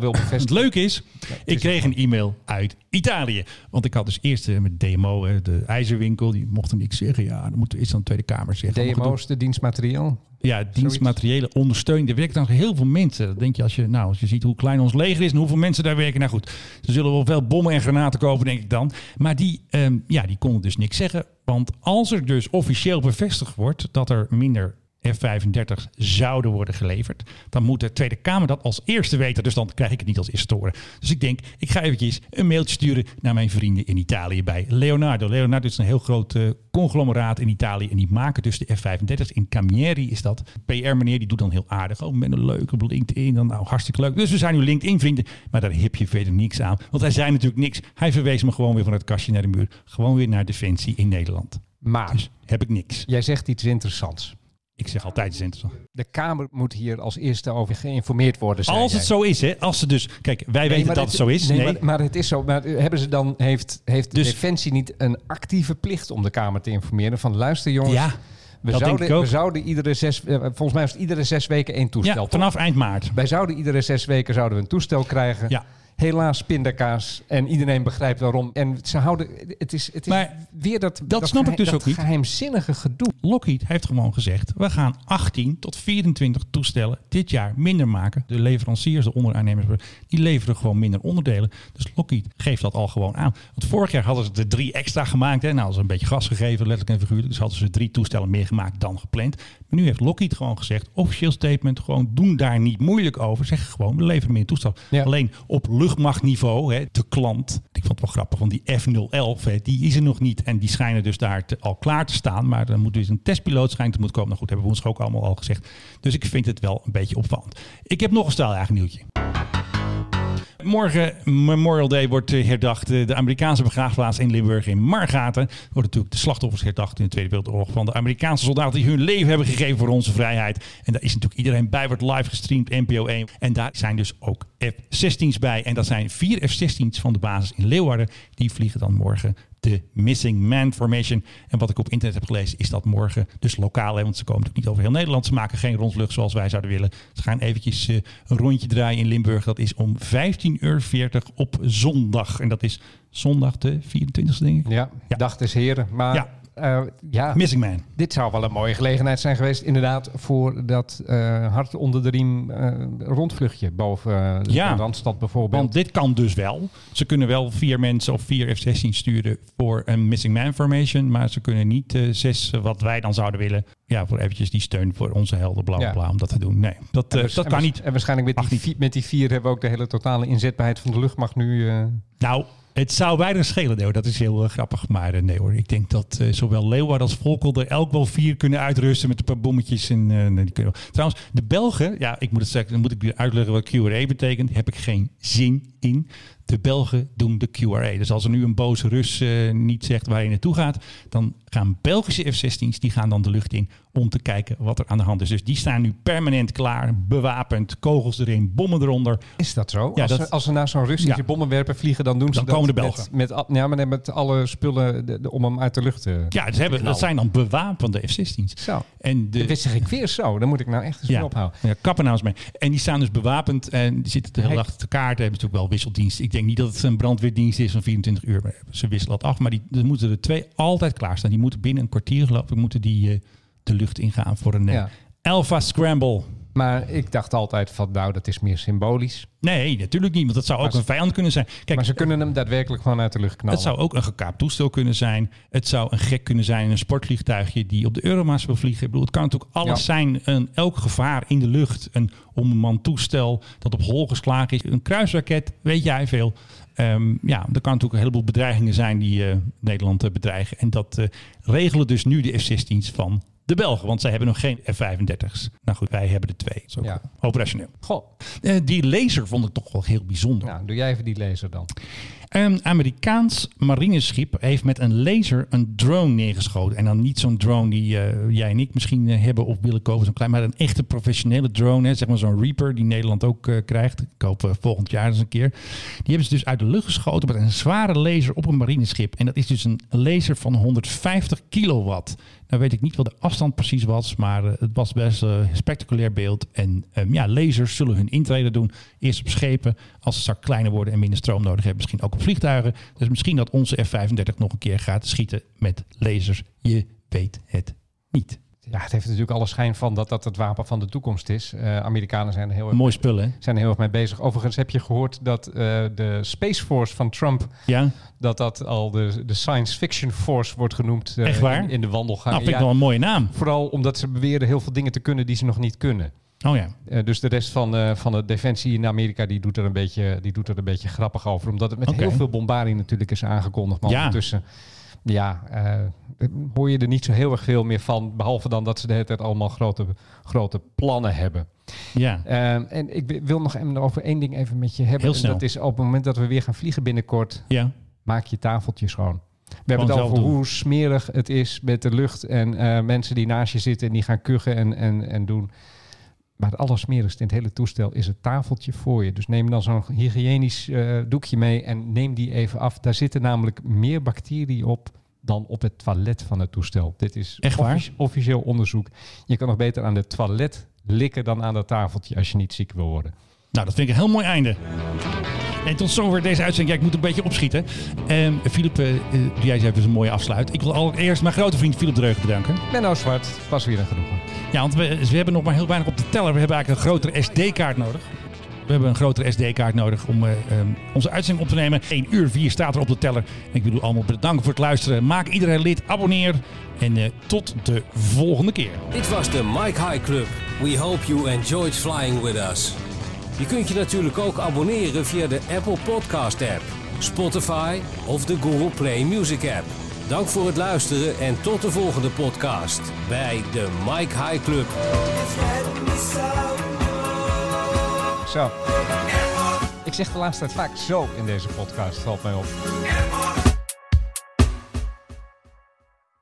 Speaker 2: wil
Speaker 1: Het
Speaker 2: bevestigen.
Speaker 1: leuke is, ik kreeg een e-mail uit Italië. Want ik had dus eerst eh, met DMO, eh, de ijzerwinkel, die mochten niks zeggen. Ja, dan moeten we eerst aan de Tweede Kamer zeggen. Allemaal gedoe.
Speaker 2: DMO's, de dienstmateriaal.
Speaker 1: Ja, dienstmateriële ondersteuning. Er werken dan heel veel mensen. Dat denk je als je, nou, als je ziet hoe klein ons leger is en hoeveel mensen daar werken. Nou goed, ze zullen wel veel bommen en granaten kopen, denk ik dan. Maar die, ehm, ja, die konden dus niks zeggen. Want als er dus officieel bevestigd wordt dat er minder F-35's zouden worden geleverd, dan moet de Tweede Kamer dat als eerste weten. Dus dan krijg ik het niet als eerste te horen. Dus ik denk, ik ga eventjes een mailtje sturen naar mijn vrienden in Italië bij Leonardo. Leonardo is een heel groot eh, conglomeraat in Italië. En die maken dus de F-35. In Camieri is dat. PR-meneer, die doet dan heel aardig. Oh, met een leuke op LinkedIn. Dan, nou, hartstikke leuk. Dus we zijn nu LinkedIn-vrienden. Maar daar heb je verder niks aan. Want hij zei natuurlijk niks. Hij verwees me gewoon weer van het kastje naar de muur. Gewoon weer naar Defensie in Nederland.
Speaker 2: Maar
Speaker 1: heb ik niks.
Speaker 2: Jij zegt iets interessants.
Speaker 1: Ik zeg altijd iets interessants.
Speaker 2: De Kamer moet hier als eerste over geïnformeerd worden. zei
Speaker 1: Als het
Speaker 2: jij.
Speaker 1: zo is, hè? Als ze dus. Kijk, wij
Speaker 2: Nee,
Speaker 1: weten
Speaker 2: maar
Speaker 1: dat het, zo is.
Speaker 2: nee,
Speaker 1: Nee,
Speaker 2: Maar, maar het is zo. Maar eh, hebben ze dan, heeft, heeft
Speaker 1: Dus-
Speaker 2: Defensie niet een actieve plicht om de Kamer te informeren? Van luister jongens,
Speaker 1: Ja,
Speaker 2: we,
Speaker 1: dat
Speaker 2: zouden,
Speaker 1: denk ik ook.
Speaker 2: we zouden iedere zes, eh, volgens mij was het iedere zes weken één toestel.
Speaker 1: Ja, vanaf eind maart.
Speaker 2: Wij zouden iedere zes weken zouden we een toestel krijgen.
Speaker 1: Ja.
Speaker 2: Helaas pindakaas en iedereen begrijpt waarom. En ze houden, het is, het is weer dat
Speaker 1: dat, snap ik
Speaker 2: geheim-
Speaker 1: dus
Speaker 2: dat
Speaker 1: ook niet.
Speaker 2: geheimzinnige gedoe.
Speaker 1: Lockheed heeft gewoon gezegd: we gaan 18 tot 24 toestellen dit jaar minder maken. De leveranciers, de onderaannemers, die leveren gewoon minder onderdelen. Dus Lockheed geeft dat al gewoon aan. Want vorig jaar hadden ze er drie extra gemaakt. Hè? Nou, dat is een beetje gas gegeven, letterlijk en figuurlijk. Dus hadden ze drie toestellen meer gemaakt dan gepland. Maar nu heeft Lockheed gewoon gezegd: officieel statement, gewoon doen daar niet moeilijk over. Zeg gewoon, we leveren meer toestellen. Alleen op luchtmachtniveau, hè, de klant. Ik vond het wel grappig, want die F011, hè, die is er nog niet. En die schijnen dus daar te- al klaar te staan. Maar dan moet dus een testpiloot schijnt te moeten komen. Nou goed, hebben we ons ook allemaal al gezegd. Dus ik vind het wel een beetje opvallend. Ik heb nog een staaljaar nieuwtje. Morgen Memorial Day wordt eh, herdacht. Eh, De Amerikaanse begraafplaats in Limburg in Margaten. Er Worden natuurlijk de slachtoffers herdacht in de Tweede Wereldoorlog. Van de Amerikaanse soldaten die hun leven hebben gegeven voor onze vrijheid. En daar is natuurlijk iedereen bij. Wordt live gestreamd, NPO 1. En daar zijn dus ook F-16's bij. En dat zijn vier F-16's van de basis in Leeuwarden. Die vliegen dan morgen de Missing Man Formation. En wat ik op internet heb gelezen is dat morgen dus lokaal, hè, want ze komen natuurlijk niet over heel Nederland. Ze maken geen rondvlucht zoals wij zouden willen. Ze gaan eventjes eh, een rondje draaien in Limburg. Dat is om 15.40 uur op zondag. En dat is zondag de 24e, denk ik.
Speaker 2: Ja, dag des heren. Maar
Speaker 1: Ja.
Speaker 2: eh, ja,
Speaker 1: Missing Man.
Speaker 2: dit zou wel een mooie gelegenheid zijn geweest, inderdaad, voor dat eh, hart onder de riem eh, rondvluchtje boven eh,
Speaker 1: Ja.
Speaker 2: de Randstad bijvoorbeeld.
Speaker 1: Want dit kan dus wel. Ze kunnen wel vier mensen of vier F-16 sturen voor een Missing Man Formation. Maar ze kunnen niet eh, zes, eh, wat wij dan zouden willen. Ja, voor eventjes die steun voor onze helden, bla bla
Speaker 2: Ja.
Speaker 1: bla, om dat te doen. Nee, dat, eh, dat
Speaker 2: En waars- Dus en
Speaker 1: kan
Speaker 2: waars-
Speaker 1: niet.
Speaker 2: En waarschijnlijk met die, vi- met die vier hebben we ook de hele totale inzetbaarheid van de luchtmacht nu. eh,
Speaker 1: Nou, het zou bijna schelen, Leo. Dat is heel eh, grappig. Maar eh, nee hoor, ik denk dat eh, zowel Leeuward als Volkel er elk wel vier kunnen uitrusten met een paar bommetjes. En, eh, nee, die kunnen wel. Trouwens, de Belgen, ja, ik moet het zeggen, dan moet ik weer uitleggen wat QRA betekent. Daar heb ik geen zin in. De Belgen doen de QRA. Dus als er nu een boze Rus eh, niet zegt waar je naartoe gaat, dan gaan Belgische F-16's, die gaan dan de lucht in om te kijken wat er aan de hand is. Dus die staan nu permanent klaar, bewapend, kogels erin, bommen eronder.
Speaker 2: Is dat zo?
Speaker 1: Ja,
Speaker 2: als,
Speaker 1: dat-
Speaker 2: ze, als ze naar zo'n Russische
Speaker 1: Ja.
Speaker 2: bommenwerper vliegen, dan doen ze
Speaker 1: Dan
Speaker 2: dat
Speaker 1: komen de
Speaker 2: met,
Speaker 1: Belgen.
Speaker 2: met, al- ja, maar nee, met alle spullen de- de- om hem uit de lucht eh. te
Speaker 1: Ja, dus hebben, dat
Speaker 2: knallen.
Speaker 1: zijn dan bewapende F-16's.
Speaker 2: Zo.
Speaker 1: En de,
Speaker 2: Dat wist ik weer zo. Dan moet ik nou echt eens mee ophouden.
Speaker 1: Ja, kappen nou eens mee. En die staan dus bewapend en die zitten de hele dag te kaarten. Hebben natuurlijk wel wisseldienst. Ik denk niet dat het een brandweerdienst is van 24 uur. Maar ze wisselen dat af. Maar die, er moeten er twee altijd klaarstaan. Die moeten binnen een kwartier geloof ik, moeten die eh, de lucht ingaan voor een eh,
Speaker 2: Ja.
Speaker 1: Alpha Scramble.
Speaker 2: Maar ik dacht altijd van, nou, dat is meer symbolisch.
Speaker 1: Nee, natuurlijk niet. Want dat zou ook
Speaker 2: ze-
Speaker 1: een vijand kunnen zijn. Kijk,
Speaker 2: maar ze kunnen hem daadwerkelijk gewoon uit de lucht knallen.
Speaker 1: Het zou ook een gekaapt toestel kunnen zijn. Het zou een gek kunnen zijn, een sportvliegtuigje die op de Euromaas wil vliegen. Ik bedoel, het kan natuurlijk alles
Speaker 2: Ja.
Speaker 1: zijn. Een, elk gevaar in de lucht. Een onbemand toestel dat op hol geslagen is. Een kruisraket, weet jij veel. Ehm, ja, er kan natuurlijk een heleboel bedreigingen zijn die eh, Nederland eh, bedreigen. En dat eh, regelen dus nu de F-16's van de Belgen. Want zij hebben nog geen F-35's. Nou goed, wij hebben er twee. Zo
Speaker 2: Ja.
Speaker 1: operationeel.
Speaker 2: Goh.
Speaker 1: Eh, die laser vond ik toch wel heel bijzonder.
Speaker 2: Nou, doe jij even die laser dan.
Speaker 1: Een Amerikaans marineschip heeft met een laser een drone neergeschoten. En dan niet zo'n drone die eh, jij en ik misschien eh, hebben of willen kopen. Zo'n klein, maar een echte professionele drone. Hè, zeg maar zo'n Reaper die Nederland ook eh, krijgt. Ik hoop eh, volgend jaar eens een keer. Die hebben ze dus uit de lucht geschoten met een zware laser op een marineschip. En dat is dus een laser van 150 kilowatt. Nou weet ik niet wat de afstand precies was. Maar eh, het was best eh, een spectaculair beeld. En ehm, ja, lasers zullen hun intrede doen. Eerst op schepen. Als ze straks kleiner worden en minder stroom nodig hebben. Misschien ook op vliegtuigen. Dus misschien dat onze F-35 nog een keer gaat schieten met lasers. Je weet het niet.
Speaker 2: Ja, het heeft natuurlijk alle schijn van dat dat het wapen van de toekomst is. Eh, Amerikanen zijn er heel erg
Speaker 1: Mooi spul hè?
Speaker 2: zijn er heel erg mee bezig. Overigens heb je gehoord dat eh, de Space Force van Trump,
Speaker 1: Ja.
Speaker 2: dat dat al de, de Science Fiction Force wordt genoemd eh,
Speaker 1: Echt waar?
Speaker 2: In, in de
Speaker 1: Nou,
Speaker 2: wandelgangen.
Speaker 1: vind ik
Speaker 2: Ja,
Speaker 1: wel een mooie naam.
Speaker 2: Vooral omdat ze beweren heel veel dingen te kunnen die ze nog niet kunnen.
Speaker 1: Oh ja.
Speaker 2: Eh, dus de rest van, eh, van de defensie in Amerika die doet, er een beetje, die doet er een beetje grappig over. Omdat het met
Speaker 1: Oké.
Speaker 2: heel veel bombardie natuurlijk is aangekondigd. Maar
Speaker 1: Ja.
Speaker 2: ondertussen ja, eh, hoor je er niet zo heel erg veel meer van. Behalve dan dat ze de hele tijd allemaal grote, grote plannen hebben.
Speaker 1: Ja.
Speaker 2: Ehm, en ik wi- wil nog even over één ding even met je hebben.
Speaker 1: Heel snel.
Speaker 2: En dat is op het moment dat we weer gaan vliegen binnenkort,
Speaker 1: Ja.
Speaker 2: maak je tafeltje schoon. hebben het
Speaker 1: zelf
Speaker 2: over
Speaker 1: doen.
Speaker 2: hoe smerig het is met de lucht en eh, mensen die naast je zitten en die gaan kuchen en, en, en doen. Maar het allersmerigste in het hele toestel is het tafeltje voor je. Dus neem dan zo'n hygiënisch eh, doekje mee en neem die even af. Daar zitten namelijk meer bacteriën op dan op het toilet van het toestel. Dit is
Speaker 1: Echt waar?
Speaker 2: offici- officieel onderzoek. Je kan nog beter aan het toilet likken dan aan dat tafeltje als je niet ziek wil worden.
Speaker 1: Nou, dat vind ik een heel mooi einde. En tot zover deze uitzending. Ja, ik moet een beetje opschieten. Ehm Filip, eh, eh, jij zei even een mooie afsluit. Ik wil allereerst mijn grote vriend Filip Dreug bedanken.
Speaker 2: Menno Zwart, het was weer een genoegen.
Speaker 1: Ja, want we, we hebben nog maar heel weinig op de teller. We hebben eigenlijk een grotere SD-kaart nodig. We hebben een grotere SD-kaart nodig om eh, ehm, onze uitzending op te nemen. 1 uur 4 staat er op de teller. En ik bedoel allemaal bedankt voor het luisteren. Maak iedereen lid, abonneer. En eh, tot de volgende keer.
Speaker 3: Dit was de Mike High Club. We hope you enjoyed flying with us. Je kunt je natuurlijk ook abonneren via de Apple Podcast app, Spotify of de Google Play Music app. Dank voor het luisteren en tot de volgende podcast bij de Mike High Club.
Speaker 2: Zo. Ik zeg de laatste tijd vaak zo in deze podcast, valt mij op.